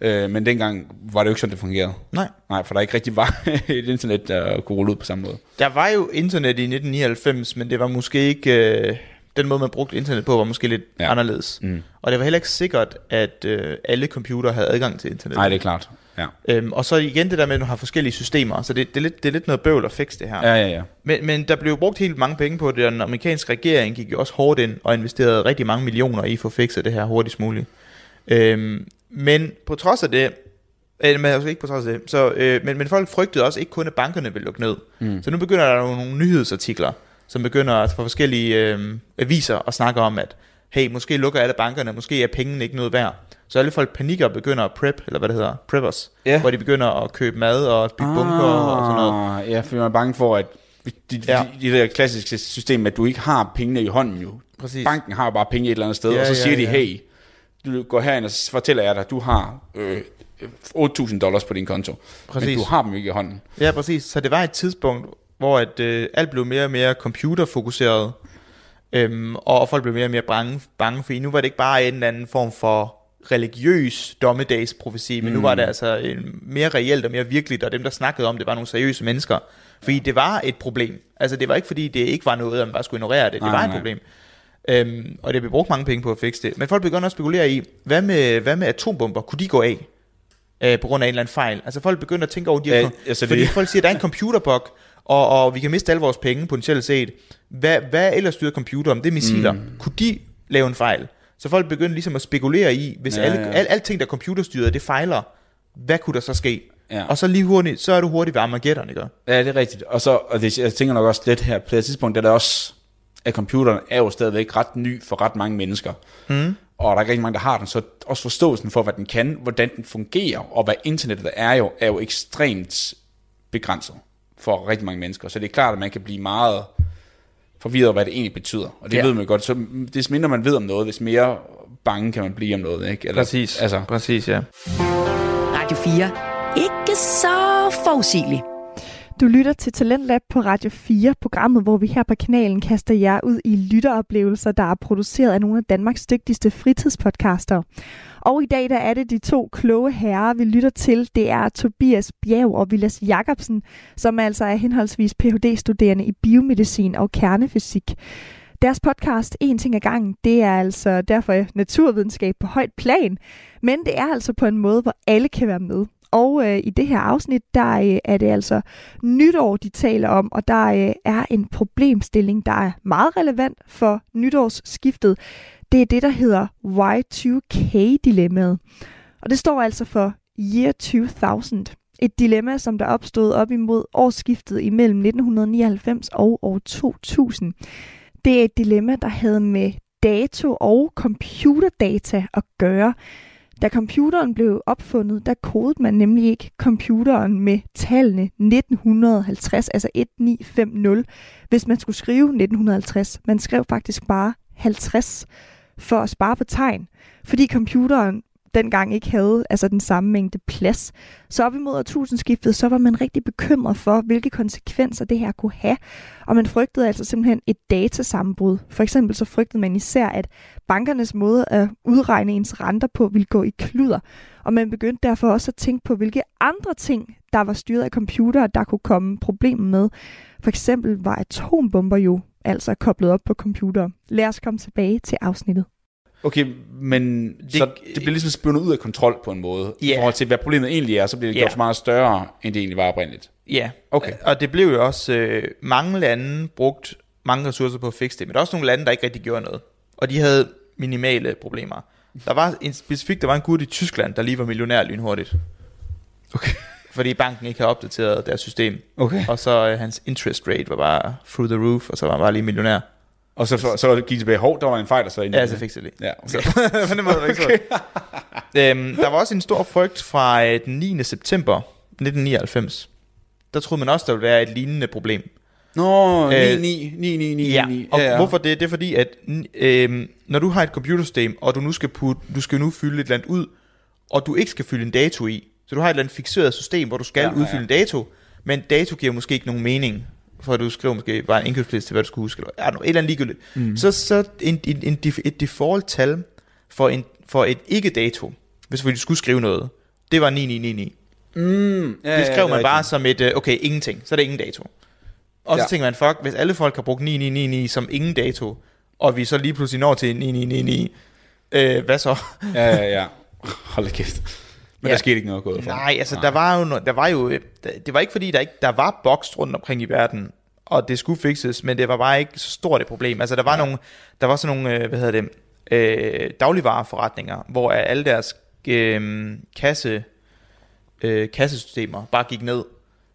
Øh, men dengang var det jo ikke sådan, det fungerede. Nej. Nej, for der ikke rigtig var [LAUGHS] et internet, der kunne rulle ud på samme måde. Der var jo internet i 1999, men det var måske ikke... Øh, den måde, man brugte internet på, var måske lidt Ja. ja. anderledes. Mm. Og det var heller ikke sikkert, at øh, alle computer havde adgang til internet. Nej, det er klart. Ja, Øhm, og så igen det der med, at du har forskellige systemer, så det, det, er, lidt, det er lidt noget bøvl at fikse det her. ja, ja. ja. Men, men der blev brugt helt mange penge på det, og den amerikanske regering gik jo også hårdt ind og investerede rigtig mange millioner i at få fikset det her hurtigst muligt. Øhm, men på trods af det, øh, men altså ikke på trods af det, så, øh, men, men folk frygtede også ikke kun, at bankerne ville lukke ned. Mm. Så nu begynder der jo nogle nyhedsartikler, som begynder at få forskellige øh, aviser at snakke om, at hey, måske lukker alle bankerne, måske er pengene ikke noget værd. Så alle folk panikker og begynder at prep, eller hvad det hedder, preppers, Ja. hvor de begynder at købe mad og at bygge bunker og sådan noget. Ah, Ja, for jeg er bange for, at det de, Ja. de der klassiske system, at du ikke har pengene i hånden jo. Præcis. Banken har jo bare penge et eller andet sted, Ja, og så ja, siger de, ja. hey, du går herind, og så fortæller jeg dig, at du har øh, 8.000 dollars på din konto, Præcis. men du har dem ikke i hånden. Ja, præcis. Så det var et tidspunkt, hvor at, øh, alt blev mere og mere computerfokuseret, øhm, og folk blev mere og mere bange, bange for, nu var det ikke bare en eller anden form for religiøs dommedagsprofesi, men mm. nu var det altså øh, mere reelt og mere virkeligt, og dem, der snakkede om det, var nogle seriøse mennesker. Fordi det var et problem. Altså, det var ikke fordi, det ikke var noget, at man bare skulle ignorere det. Det Nej, var et nej. problem. Øhm, og det blev brugt mange penge på at fikse det. Men folk begynder at spekulere i, hvad med, hvad med atombomber? Kunne de gå af? Øh, på grund af en eller anden fejl. Altså folk begynder at tænke over de her... Ja, kom- altså, fordi det- folk siger, at der er en computerbug, og, og vi kan miste alle vores penge potentielt set. Hvad, hvad ellers styrer computer om? Det er missiler. Mm. Kunne de lave en fejl? Så folk begynder ligesom at spekulere i, hvis Ja, ja, alle, ja. ja. Al, alting, der er computerstyret, det fejler, hvad kunne der så ske? Ja. Og så lige hurtigt, så er du hurtigt ved Armageddon, ikke? Ja, det er rigtigt. Og, så, og det, jeg tænker nok også lidt her, på det her tidspunkt, er der også, at computeren er jo stadigvæk ret ny for ret mange mennesker. Mm. Og der er ikke rigtig mange, der har den, så også forståelsen for, hvad den kan, hvordan den fungerer, og hvad internettet er jo, er jo ekstremt begrænset for rigtig mange mennesker. Så det er klart, at man kan blive meget forvirret over, hvad det egentlig betyder. Og det ja. Ja. ved man jo godt. Så des mindre man ved om noget, des mere bange kan man blive om noget. Ikke? Eller, Altså, Præcis, ja. Radio 4. Ikke så forudsigelig. Du lytter til Talentlab på Radio 4, programmet, hvor vi her på kanalen kaster jer ud i lytteroplevelser, der er produceret af nogle af Danmarks dygtigste fritidspodcaster. Og i dag der er det de to kloge herrer, vi lytter til. Det er Tobias Bjerg og Vilas Jacobsen, som altså er henholdsvis Ph.D.-studerende i biomedicin og kernefysik. Deres podcast, En ting ad gangen, det er altså derfor naturvidenskab på højt plan, men det er altså på en måde, hvor alle kan være med. Og øh, i det her afsnit, der øh, er det altså nytår, de taler om, og der øh, er en problemstilling, der er meget relevant for nytårsskiftet. Det er det, der hedder Y2K-dilemmaet. Og det står altså for Year 2000. Et dilemma, som der opstod op imod årsskiftet imellem 1999 og år 2000. Det er et dilemma, der havde med dato og computerdata at gøre. Da computeren blev opfundet, der kodede man nemlig ikke computeren med tallene 1950, altså 1950, hvis man skulle skrive 1950. Man skrev faktisk bare 50 for at spare på tegn, fordi computeren dengang ikke havde altså den samme mængde plads. Så op imod årtusindskiftet, så var man rigtig bekymret for, hvilke konsekvenser det her kunne have, og man frygtede altså simpelthen et datasammenbrud. For eksempel så frygtede man især, at bankernes måde at udregne ens renter på ville gå i kluder, og man begyndte derfor også at tænke på, hvilke andre ting, der var styret af computere, der kunne komme problemer med. For eksempel var atombomber jo altså koblet op på computer. Lad os komme tilbage til afsnittet. Okay, men det, så det bliver ligesom spændt ud af kontrol på en måde, i Ja. forhold til hvad problemet egentlig er, så bliver det Ja. gjort meget større, end det egentlig var oprindeligt. Ja, Okay. Og det blev jo også, øh, mange lande brugt mange ressourcer på at fikse det, men der er også nogle lande, der ikke rigtig gjorde noget. Og de havde minimale problemer. Der var en specifik, der var en gut i Tyskland, der lige var millionær lynhurtigt. Okay. Fordi banken ikke havde opdateret deres system. Okay. Og så øh, hans interest rate var bare through the roof, og så var han bare lige millionær. Og så, så, så gik det tilbage, hov, der var en fejl, og så ind. Ja, så fik det lige. Ja, okay. Så, [LAUGHS] på den måde var det ikke okay. [LAUGHS] øhm, der var også en stor frygt fra øh, den 9. september 1999. Der troede man også, der ville være et lignende problem. [LAUGHS] Nå, 9-9, Øh, 9-9, Ja, 9-9. og ja, ja. hvorfor det? Det er fordi, at øh, når du har et computersystem, og du nu skal, putte, du skal nu fylde et eller andet ud, og du ikke skal fylde en dato i, så du har et eller andet fixeret system, hvor du skal Ja, ja, ja, ja. udfylde en dato, men dato giver måske ikke nogen mening, for at du skriver måske bare en indkøbsliste til, hvad du skal huske, eller ja, no, et eller andet ligegyldigt. Mm. Så, så en, en, en, def- et default-tal for, en, for et ikke-dato, hvis vi skulle skrive noget, det var 9999. Mm, Det ja, ja, skrev man er bare rigtigt. som et, øh, okay, ingenting, så er det ingen dato. Og så Ja. ja. tænker man, fuck, hvis alle folk har brugt 9999 som ingen dato, og vi så lige pludselig når til 9999, øh, hvad så? Ja, ja, ja. Hold da kæft. Men ja. Ja. der skete ikke noget gået for. Nej, altså der var jo, no- der var jo øh, der- det var ikke fordi der ikke der var boks rundt omkring i verden og det skulle fikses, men det var bare ikke så stort et problem. Altså der var ja. nogle der var sådan nogle, øh, hvad hedder det, øh, dagligvareforretninger, hvor alle deres øh, kasse øh, kassesystemer bare gik ned,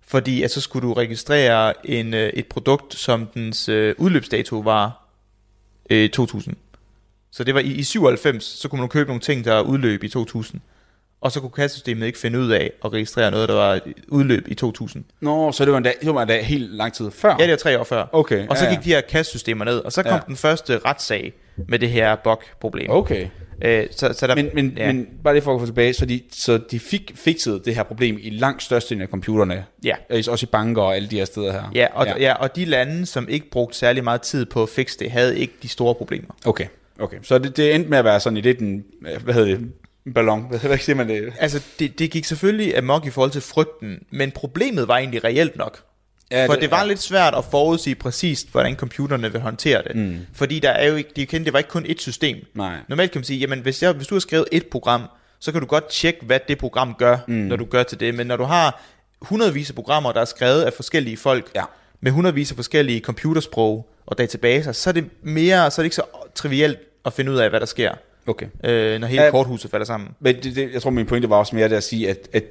fordi at så skulle du registrere en øh, et produkt som dens øh, udløbsdato var øh, 2000. Så det var i, i 97, så kunne man købe nogle ting der udløb i 2000. Og så kunne kassesystemet ikke finde ud af at registrere noget, der var udløb i 2000. Nå, så det var en dag, det var en dag helt lang tid før. Ja, det var tre år før. Okay, Og så ja, ja. gik de her kassesystemer ned, og så kom Ja. ja. den første retssag med det her bug-problem. Okay. Øh, så, så der, Men, men, ja. men bare lige for at gå tilbage, så de, så de fik fikset det her problem i langt størstedelen af computerne. Ja. Øh, Også i banker og alle de her steder her. Ja, og, ja. ja, og de lande, som ikke brugte særlig meget tid på at fikse det, havde ikke de store problemer. Okay, okay. Så det, det endte med at være sådan i lidt en, øh, hvad hedder det, en ballon. [LAUGHS] Hvad, hvad siger man det? Altså, det, det gik selvfølgelig amok i forhold til frygten, men problemet var egentlig reelt nok. Ja, Ja, for det, var ja. ja. lidt svært at forudsige præcist, hvordan computerne vil håndtere det. Mm. Fordi der er jo ikke, de kendte, det var ikke kun et system. Nej. Normalt kan man sige, jamen hvis, jeg, hvis du har skrevet et program, så kan du godt tjekke, hvad det program gør, mm. når du gør til det. Men når du har hundredvis af programmer, der er skrevet af forskellige folk, Ja. med hundredvis af forskellige computersprog og databaser, så er det mere, så er det ikke så trivielt at finde ud af, hvad der sker, Okay. øh, når hele Ja. ja. korthuset falder sammen. Men det, det, jeg tror, min pointe var også mere det at sige, at, at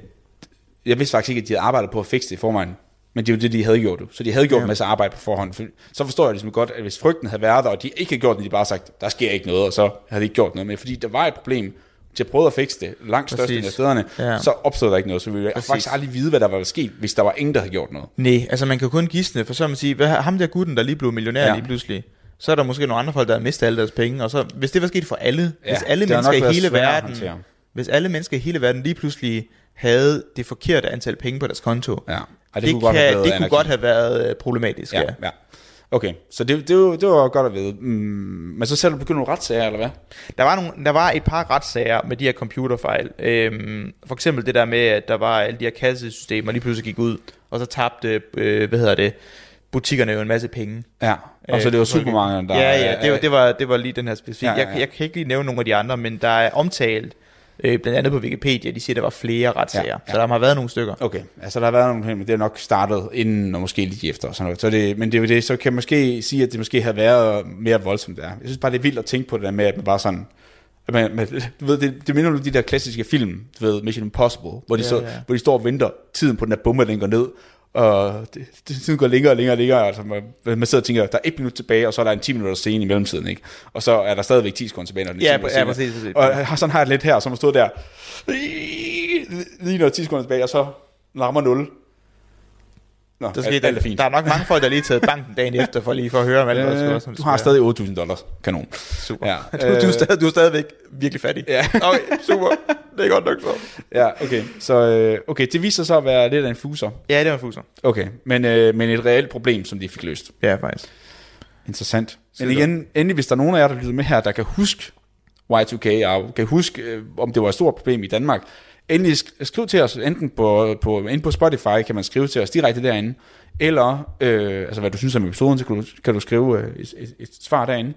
jeg vidste faktisk ikke, at de havde arbejdet på at fikse det i forvejen. Men det er jo det, de havde gjort. jo. Så de havde gjort ja. en masse arbejde på forhånd. For- Så forstår jeg ligesom godt, at hvis frygten havde været der, og de ikke havde gjort det, de bare sagt, der sker ikke noget, og så havde de ikke gjort noget. Men fordi der var et problem, de har prøvet at fikse det langt størstedelen af Præcis. stederne, ja. Ja. så opstod der ikke noget. Så vi ville Præcis. faktisk aldrig vide, hvad der var sket, hvis der var ingen, der havde gjort noget. Nej, altså man kan jo kun gisne, for så kan man sige, hvad, ham der gutten, der lige blev millionær Ja. ja. lige pludselig, så er der måske nogle andre folk, der har mistet alle deres penge, og så, hvis det var sket for alle, Ja, ja, hvis alle det har nok mennesker været i hele sværere at verden, håndtere. hvis alle mennesker i hele verden lige pludselig havde det forkerte antal penge på deres konto, Ja. Og det, det, kunne, kan, have været godt det kunne anarki. godt have været øh, problematisk. Ja. Ja, Ja. ja. Okay, så det, det, var, det var godt at vide. Mm, men så selv du begyndt nogle retssager, eller hvad? Der, var nogle, der var et par retssager med de her computerfejl. Øhm, for eksempel det der med, at der var alle de her kassesystemer, lige pludselig gik ud, og så tabte, øh, hvad hedder det, butikkerne jo en masse penge. Ja, og så Øh, det var for folk. supermarkederne, der... Ja, ja, det var, det var, det var lige den her specifikke. Ja, Ja, ja, ja, ja. Jeg, jeg kan ikke lige nævne nogle af de andre, men der er omtalt, øh, blandt andet på Wikipedia, de siger, der var flere retssager. Ja, Ja, ja. ja. Så der har været nogle stykker. Okay, altså der har været nogle problemer, men det er nok startet inden og måske lige efter og sådan noget. Så det, men det er jo det, så kan jeg måske sige, at det måske havde været mere voldsomt der. Jeg synes bare, det er vildt at tænke på det der med, at man bare sådan... At man, man, du ved, det, det minder om de der klassiske film, du ved, Mission Impossible, hvor de, ja, Ja, så, ja. ja. Hvor de står og venter tiden på den der bombe, den går ned, og det, det, tiden går længere og længere og længere, altså man, man sidder og tænker, der er et minut tilbage, og så er der en 10 minutter scene i mellemtiden, ikke? Og så er der stadigvæk 10 sekunder tilbage, når den Ja, er 10 minutter ja, senere. præcis, præcis. Og jeg har- sådan har jeg det lidt her, som stod der, lige når 10 sekunder tilbage, og så rammer 0. Nå, Der, alt, skete, alt er fint. der er nok mange folk, der lige har taget banken dagen efter, for lige for at høre, om alt øh, øh, som det du skal har være. stadig 8.000 dollars. Kanon. Super. Ja. øh. Ja. [LAUGHS] Du, du, er stadig, du er stadigvæk virkelig fattig. Ja. Okay, super. Det er godt [LAUGHS] nok så. Ja, okay. Så øh, okay, det viser sig at være lidt af en fuser. Ja, det var en fuser. Okay, men, øh, men et reelt problem, som de fik løst. Ja, faktisk. Interessant. Men Skide igen, endelig hvis der er nogen af jer, der lytter med her, der kan huske Y2K, og kan huske, øh, om det var et stort problem i Danmark, endelig sk- øh, skriv til os, enten på, på, inde på Spotify kan man skrive til os direkte derinde, eller øh, altså hvad du synes om episoden, så kan du, kan du skrive øh, et, et, et svar derinde,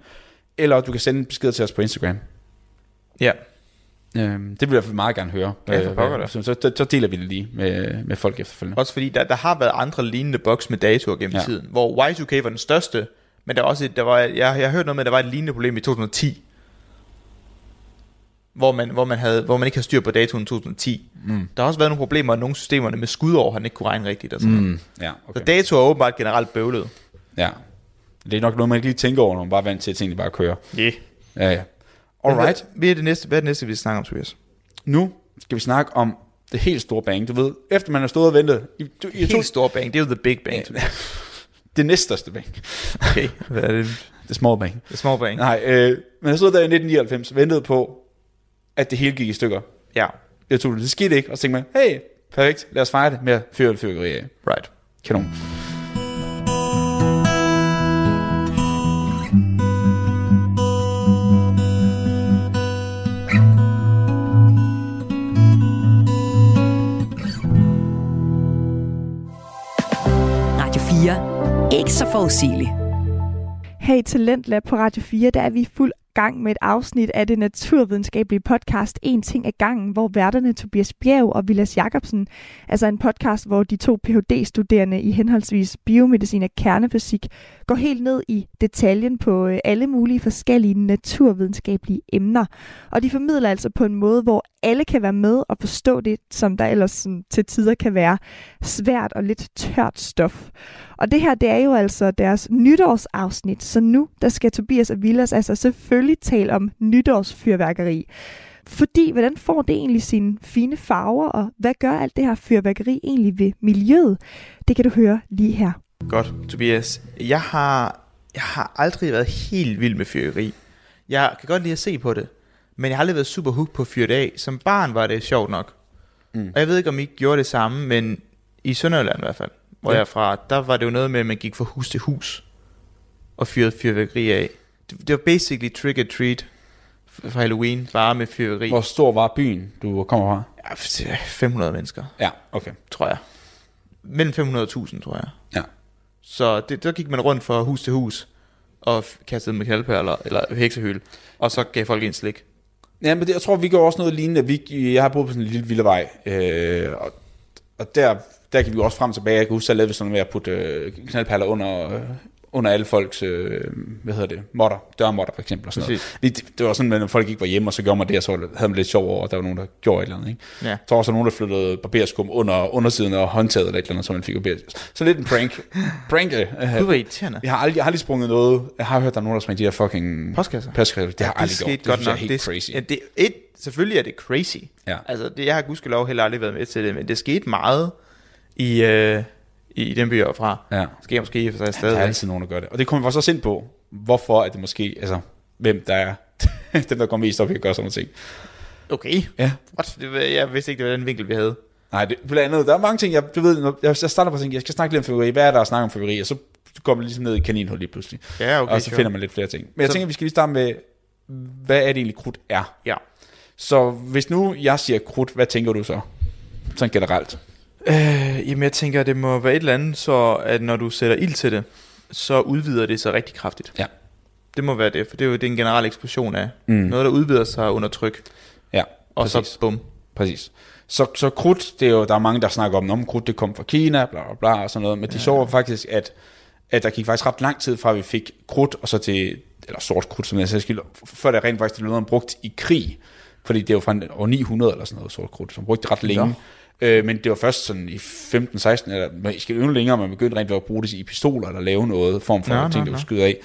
eller du kan sende en besked til os på Instagram. Ja. Øh, det vil jeg i hvert fald meget gerne høre. Øh, Ja, for pokker da. så, så, så deler vi det lige med, med folk efterfølgende. Også fordi der, der har været andre lignende boks med datoer gennem Ja. ja. tiden, hvor Y2K var den største, men der var også et, der var, jeg, jeg har hørt noget med, at der var et lignende problem i 2010, hvor man, hvor man, havde, hvor man ikke havde styr på datoen i 2010. Mm. Der har også været nogle problemer i nogle systemerne med skudår, han ikke kunne regne rigtigt. Og sådan. Mm. Mm, ja, Så okay. datoer er åbenbart generelt bøvlet. ja. Det er nok noget, man ikke lige tænker over, når man bare er vant til, at tingene bare kører. Yeah. Ja, ja. Alright. Hvad er det næste, hvad er det næste vi snakker om, Tobias? Nu skal vi snakke om det helt store bang. Du ved, efter man har stået og ventet. I, du, I to, Helt stor bang, det er jo the big bang. Tobias. [LAUGHS] det næststørste bang. [LAUGHS] Okay, hvad er det? Det små bang. The small bang. Nej, øh, man har stået der i 1999 og ventet på, at det hele gik i stykker. Ja, Jeg tog det, det skete ikke, og så tænkte man, hey, perfekt, lad os fejre det med at fyre det fyrkeri af. right. Kanon. Radio 4. Ikke så forudsigelig. Her i Talentlab på Radio 4, der er vi i fuld gang med et afsnit af det naturvidenskabelige podcast En ting ad gangen, hvor værterne Tobias Bjerg og Vilas Jacobsen, altså en podcast, hvor de to Ph.D.-studerende i henholdsvis biomedicin og kernefysik, går helt ned i detaljen på øh, alle mulige forskellige naturvidenskabelige emner. Og de formidler altså på en måde, hvor alle kan være med og forstå det, som der ellers sådan, til tider kan være svært og lidt tørt stof. Og det her, det er jo altså deres nytårsafsnit, så nu der skal Tobias og Villas altså selvfølgelig tale om nytårsfyrværkeri. Fordi, hvordan får det egentlig sine fine farver, og hvad gør alt det her fyrværkeri egentlig ved miljøet? Det kan du høre lige her. Godt, Tobias. Jeg har, jeg har aldrig været helt vild med fyrværkeri. Jeg kan godt lide at se på det, men jeg har aldrig været super hooked på fyret af. Som barn var det sjovt nok. Mm. Og jeg ved ikke, om I gjorde det samme, men i Sønderjylland i hvert fald, hvor ja. jeg er fra, der var det jo noget med, at man gik fra hus til hus og fyrede fyrværkeri af. Det, det var basically trick or treat f- for Halloween, bare med fyrværkeri. Hvor stor var byen, du kommer fra? Ja, f- 500 mennesker, Ja, okay. tror jeg. Mellem 500.000, tror jeg. Ja. Så det, der gik man rundt fra hus til hus og f- kastede med knaldperler eller heksehyl, og så gav folk en slik. Ja, men det, jeg tror, vi gjorde også noget lignende. Vi, jeg har boet på sådan en lille villavej, øh, og, og der, der kan vi jo også frem og tilbage. Jeg kan huske, at jeg lavede sådan noget med at putte øh, knaldperler under, øh, under alle folks, øh, hvad hedder det, modder, dørmotter for eksempel. Og sådan noget. Præcis. Det, det, var sådan, at når folk ikke var hjemme, og så gjorde man det, og så havde man lidt sjov over, at der var nogen, der gjorde et eller andet. Ikke? Ja. Så var også nogen, der flyttede barberskum under undersiden af håndtaget eller et eller andet, så man fik barberskum. Så lidt en prank. [LAUGHS] prank øh, Du var irriterende. jeg har aldrig, jeg har aldrig sprunget noget. Jeg har hørt, der er nogen, der springer de her fucking... Postkasser. Postkasser. Det har jeg det aldrig skete gjort. Det godt synes jeg nok. er helt det, crazy. Ja, det, et, selvfølgelig er det crazy. Ja. Altså, det, jeg har gudskelov heller aldrig været med til det, men det skete meget i, øh, i den by, jeg er fra. Ja. Sker måske i og for sig Der er stadig. altid nogen, der gør det. Og det kommer vi faktisk også ind på, hvorfor at det måske, altså, hvem der er, [LAUGHS] dem der går mest op i at gøre sådan nogle ting. Okay. Ja. What? Det, var- jeg vidste ikke, det var den vinkel, vi havde. Nej, det, blandt andet, der er mange ting, jeg, du ved, når jeg, jeg starter på at tænke, jeg skal snakke lidt om fyrværkeri, hvad er der at snakke om fyrværkeri, og så går man ligesom ned i kaninhul lige pludselig. Ja, okay, og så sure. finder man lidt flere ting. Men jeg Så- så... tænker, vi skal lige starte med, hvad er det egentlig, krudt er? Ja. Så hvis nu jeg siger krudt, hvad tænker du så? Sådan generelt. Øh, jamen, jeg tænker, det må være et eller andet, så at når du sætter ild til det, så udvider det sig rigtig kraftigt. Ja. Det må være det, for det er jo det er en generel eksplosion af Mm. noget, der udvider sig under tryk, Ja, Altså, og præcis. så bum. Præcis. Så, så krudt, det er jo, der er mange, der snakker om, om krudt, det kom fra Kina, bla bla bla, og sådan noget, men de så faktisk, at, at der gik faktisk ret lang tid fra, at vi fik krudt, og så til, eller sort krudt, som jeg selv skilder, før det rent faktisk blev noget, man brugt i krig, fordi det var fra en- år 900 eller sådan noget, sort krudt, som brugte det ret længe. Øh, men det var først sådan i 15-16, eller måske endnu længere, man begyndte rent faktisk at bruge det i pistoler, eller lave noget form for Nå, ting, nå, der nå. var skyde af.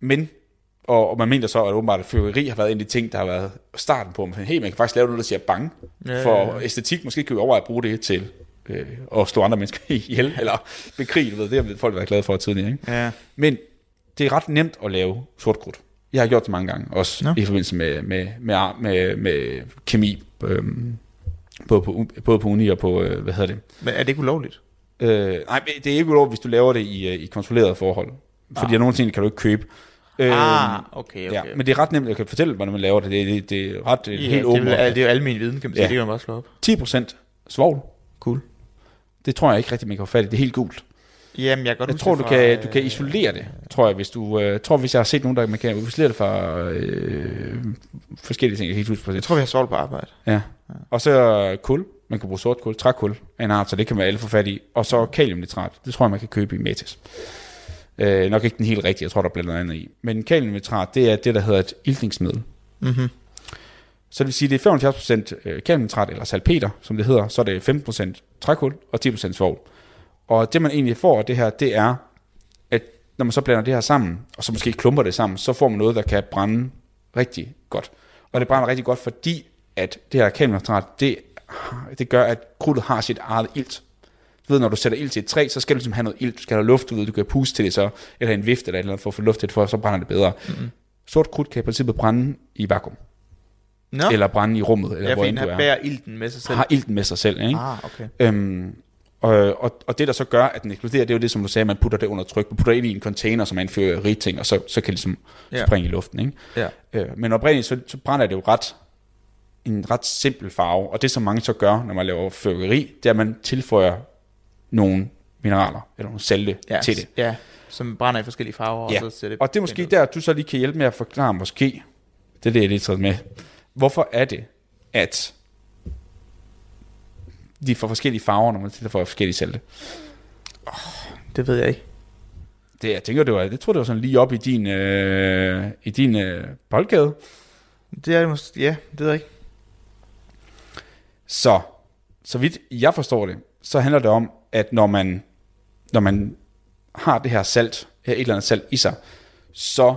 Men og, og man mener så, at åbenbart at fyrværkeri har været en af de ting, der har været starten på, at hey, man kan faktisk lave noget, der siger bang. Ja, for ja, ja. æstetik, måske kan vi overveje at bruge det til øh, at slå andre mennesker [LAUGHS] ihjel, eller bekrige, du ved, det har folk været glade for tidligere. Ikke? Ja. Men det er ret nemt at lave sort krudt. Jeg har gjort det mange gange, også Nå. i forbindelse med, med, med, ar- med, med kemi, øhm, både, på, u- både på uni og på, øh, hvad hedder det, Men er det ikke ulovligt? Øh, nej, men det er ikke ulovligt, hvis du laver det i, øh, i kontrolleret forhold. Fordi ah. nogle ting kan du ikke købe. Øh, Ah, okay, okay. Ja, men det er ret nemt, jeg kan fortælle, hvordan man laver det. Det, det, det er ret ja, Ja, helt det, åbent. er, vel- det er jo almen viden, kan man sige. Ja. Det kan man bare slå op. 10% svovl. Cool. Det tror jeg ikke rigtig, man kan få fat i. Det er helt gult. Jamen, jeg kan godt Jeg huske tror, det du fra, kan, du kan øh, isolere det, tror jeg. Hvis du, øh, tror, hvis jeg har set nogen, der man kan isolere det fra øh, forskellige ting. Jeg kan ikke huske Jeg præcis. tror, vi har solgt på arbejde. Ja. Og så kul. Man kan bruge sort kul, trækul af en art, så det kan man alle få fat i. Og så kaliumnitrat. Det tror jeg, man kan købe i Metis. Øh, nok ikke den helt rigtige, jeg tror, der er blandt andet i. Men kaliumnitrat, det er det, der hedder et iltningsmiddel. Mm-hmm. Så det vil sige, det er 75% øh, kaliumnitrat, eller salpeter, som det hedder. Så er det 15% trækul og 10% svovl. Og det, man egentlig får af det her, det er, at når man så blander det her sammen, og så måske klumper det sammen, så får man noget, der kan brænde rigtig godt. Og det brænder rigtig godt, fordi at det her kaliumnitrat, det, det gør, at krudtet har sit eget ilt. Du ved, når du sætter ild til et træ, så skal du ligesom have noget ilt. Du skal have luft ud, du kan puste til det så, eller en vift eller et eller andet for at få luft til det, for så brænder det bedre. Mhm. Mm-hmm. Sort krudt kan i princippet brænde i vakuum Nå, eller, eller brænde i rummet, eller jeg hvor end finder, du han er. bærer ilten med sig selv. Har ilten med sig selv, ikke? Ah, okay. Øhm, og, og, og det, der så gør, at den eksploderer, det er jo det, som du sagde, man putter det under tryk. Man putter det ind i en container, som er en fyrværkeriting, og så, så kan det ligesom Ja. springe i luften, ikke? Ja. Øh, men oprindeligt, så, så brænder det jo ret en ret simpel farve, og det, som mange så gør, når man laver fyrværkeri, det er, at man tilføjer nogle mineraler, eller nogle salte Ja, til det. Ja, som brænder i forskellige farver. Ja, Og, så ser det og det er måske pænt ud. der, du så lige kan hjælpe med at forklare, måske, det er det, jeg lige taget med. Hvorfor er det, at de får forskellige farver, når man stiller for forskellige salte? Det ved jeg ikke. Det, jeg tænker, det var, jeg tror, det var sådan lige op i din, øh, i din øh, boldgade. Det er det måske, ja, det ved jeg ikke. Så, så vidt jeg forstår det, så handler det om, at når man, når man har det her salt, her et eller andet salt i sig, så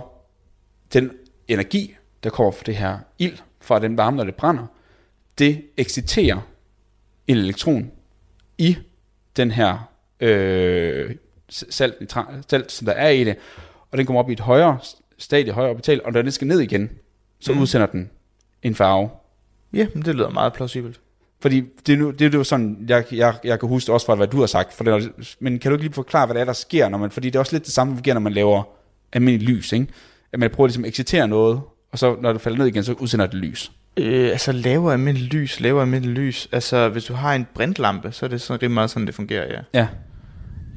den energi, der kommer fra det her ild, fra den varme, når det brænder, det exciterer en elektron i den her øh, s- salt, nitra- salt, som der er i det, og den kommer op i et højere s- stadie, højere orbital, og når den skal ned igen, så Mm. udsender den en farve. Ja, men det lyder meget plausibelt. Fordi det er, nu, det er jo sådan, jeg, jeg, jeg kan huske det også fra, hvad du har sagt. For det er, men kan du ikke lige forklare, hvad det er, der sker? Når man, fordi det er også lidt det samme, der sker, når man laver almindelig lys. Ikke? At man prøver ligesom at excitere noget, og så når det falder ned igen, så udsender det lys. Øh, altså lavere almindelig lys, lavere almindelig lys. Altså hvis du har en brintlampe, så er det sådan rimelig meget sådan, det fungerer, ja. Ja.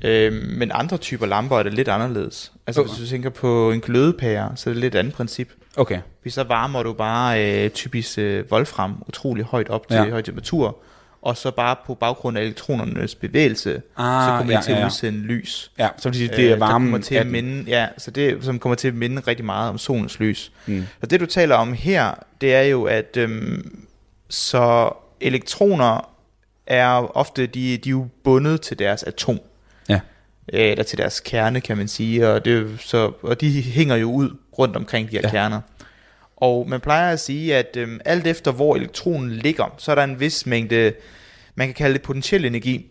Øh, men andre typer lamper er det lidt anderledes. Altså Okay. hvis du tænker på en glødepære, så er det lidt andet princip. Okay. Hvis så varmer du bare øh, typisk øh, wolfram utrolig højt op til Ja. ja. høj temperatur, og så bare på baggrund af elektronernes bevægelse, Ah, så kommer ja, det til ja, at ja. udsende lys. Ja, så vil det sige, det er øh, der varmen. kommer til at af den. minde, ja, så det, som kommer til at minde rigtig meget om solens lys. Mm. Og det du taler om her, det er jo, at øhm, så elektroner er ofte, de, de er jo bundet til deres atom. Ja. Øh, Eller til deres kerne, kan man sige. Og, det, er jo så, og de hænger jo ud rundt omkring de her Ja. ja. kerner. Og man plejer at sige, at øhm, alt efter hvor elektronen ligger, så er der en vis mængde, man kan kalde det potentiel energi,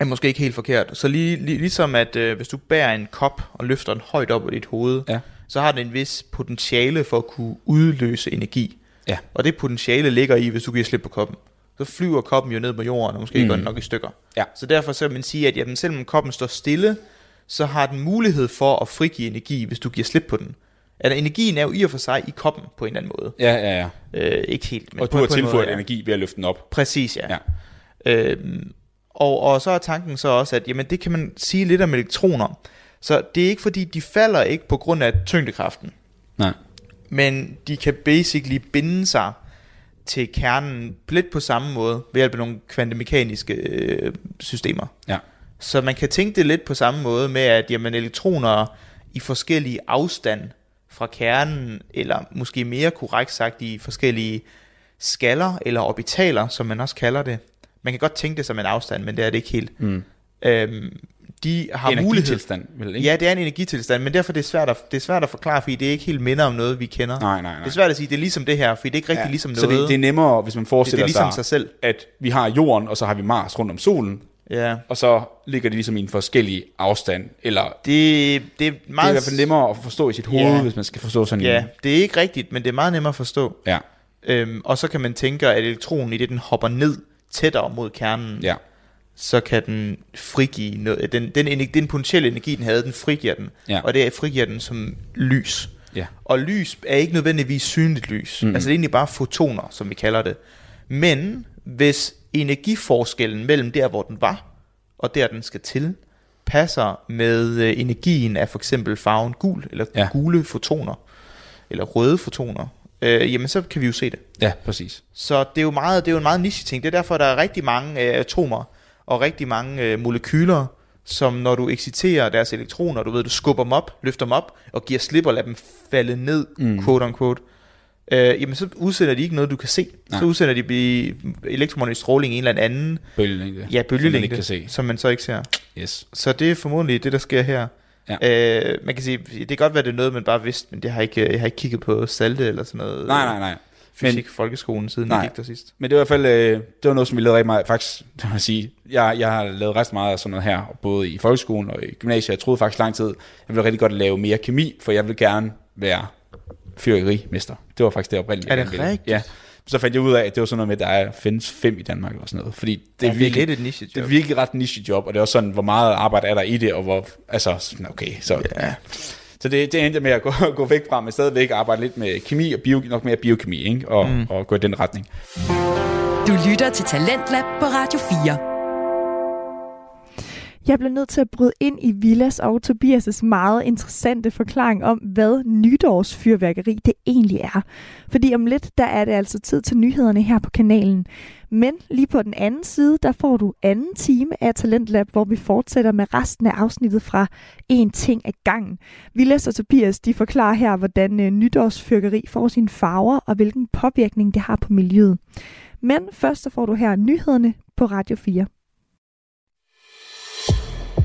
er måske ikke helt forkert. Så lige, lige, ligesom at øh, hvis du bærer en kop og løfter den højt op i dit hoved, Ja. så har den en vis potentiale for at kunne udløse energi. Ja. Og det potentiale ligger i, hvis du giver slip på koppen. Så flyver koppen jo ned på jorden, og måske Mm. mm. går den nok i stykker. Ja. Så derfor så vil man sige, at jamen, selvom koppen står stille, så har den mulighed for at frigive energi, hvis du giver slip på den. Altså, energien er jo i og for sig i koppen på en eller anden måde. Ja, ja, ja. Øh, ikke helt, men Og på, du har på en måde, tilføjet ja. energi ved at løfte den op. Præcis, ja. Ja. Øhm, og, og så er tanken så også, at jamen, det kan man sige lidt om elektroner. Så det er ikke fordi, de falder ikke på grund af tyngdekraften, Nej. men de kan basically binde sig til kernen lidt på samme måde ved hjælp af nogle kvantemekaniske øh, systemer. Ja. Så man kan tænke det lidt på samme måde med, at jamen, elektroner i forskellige afstand fra kernen, eller måske mere korrekt sagt i forskellige skaller eller orbitaler, som man også kalder det. Man kan godt tænke det som en afstand, men det er det ikke helt. Mm. Øhm, de har mulighed. Energitilstand, vel ikke? Ja, det er en energitilstand, men derfor er det svært at, det er svært at forklare, fordi det ikke helt minder om noget, vi kender. Nej, nej, nej. Det er svært at sige, det er ligesom det her, fordi det er ikke rigtig ja, ligesom noget. Så det, det er nemmere, hvis man det, det forestiller er ligesom sig, sig selv. at vi har jorden, og så har vi Mars rundt om solen, Ja. og så ligger de ligesom i en forskellig afstand, eller Det, det er Det er i meget... hvert fald nemmere at forstå i sit hoved, Ja. hvis man skal forstå sådan en. Ja, det er ikke rigtigt, men det er meget nemmere at forstå. Ja, Øhm, og så kan man tænke, at elektronen i det, den hopper ned tættere mod kernen, ja, så kan den frigive noget. Den, den, ener- den potentielle energi, den havde, den frigiver den. Ja. Og det er- frigiver den som lys. ja. Og lys er ikke nødvendigvis synligt lys. Mm. Altså det er egentlig bare fotoner, som vi kalder det. Men hvis energiforskellen mellem der, hvor den var, og der, den skal til, passer med øh, energien af for eksempel farven gul, eller Ja. ja. gule fotoner, eller røde fotoner, øh, jamen så kan vi jo se det. Ja, præcis. Så det er jo, meget, det er jo en meget niche ting. Det er derfor, der er rigtig mange øh, atomer og rigtig mange øh, molekyler, som når du exciterer deres elektroner, du ved, du skubber dem op, løfter dem op og giver slip og lader dem falde ned, mm. quote unquote, øh, jamen så udsender de ikke noget, du kan se. Nej. Nej. Så udsender de i elektromagnetisk stråling i en eller anden ja, Bølgelængde. Som man ikke bølgelængde, kan se. som man så ikke ser. Yes. Så det er formodentlig det, der sker her. Ja. Øh, man kan sige, det kan godt være, det er noget, man bare vidste, men det har ikke, jeg har ikke kigget på salte eller sådan noget. Nej, nej, nej. Fysik men, folkeskolen, siden Nej. jeg gik der sidst. Men det var i hvert fald øh, det var noget, som vi lavede rigtig meget. Faktisk, [LAUGHS] det må jeg sige, jeg, jeg har lavet ret meget af sådan noget her, både i folkeskolen og i gymnasiet. Jeg troede faktisk lang tid, jeg ville rigtig godt lave mere kemi, for jeg ville gerne være fyrværkerimester. Det var faktisk det oprindelige. Er jeg det gerne ville. rigtigt? Ja. Så fandt jeg ud af, at det var sådan noget med, at der er- findes fem i Danmark og sådan noget. Fordi det er, Ja, det er virkelig, lidt et nichejob. Det er virkelig ret nichejob, og det er også sådan, hvor meget arbejde er der i det, og hvor, altså, sådan, okay, så Ja. Så det, det endte jeg med at gå, [LAUGHS] gå væk fra, men stadigvæk arbejde lidt med kemi og bio, nok mere biokemi, ikke? Og, mm. og gå i den retning. Du lytter til Talentlab på Radio 4. Jeg blev nødt til at bryde ind i Villas og Tobias' meget interessante forklaring om, hvad nytårsfyrværkeri det egentlig er. Fordi om lidt, der er det altså tid til nyhederne her på kanalen. Men lige på den anden side, der får du anden time af Talentlab, hvor vi fortsætter med resten af afsnittet fra En ting ad gangen. Villas og Tobias, de forklarer her, hvordan øh, nytårsfyrkeri får sine farver, og hvilken påvirkning det har på miljøet. Men først så får du her nyhederne på Radio 4.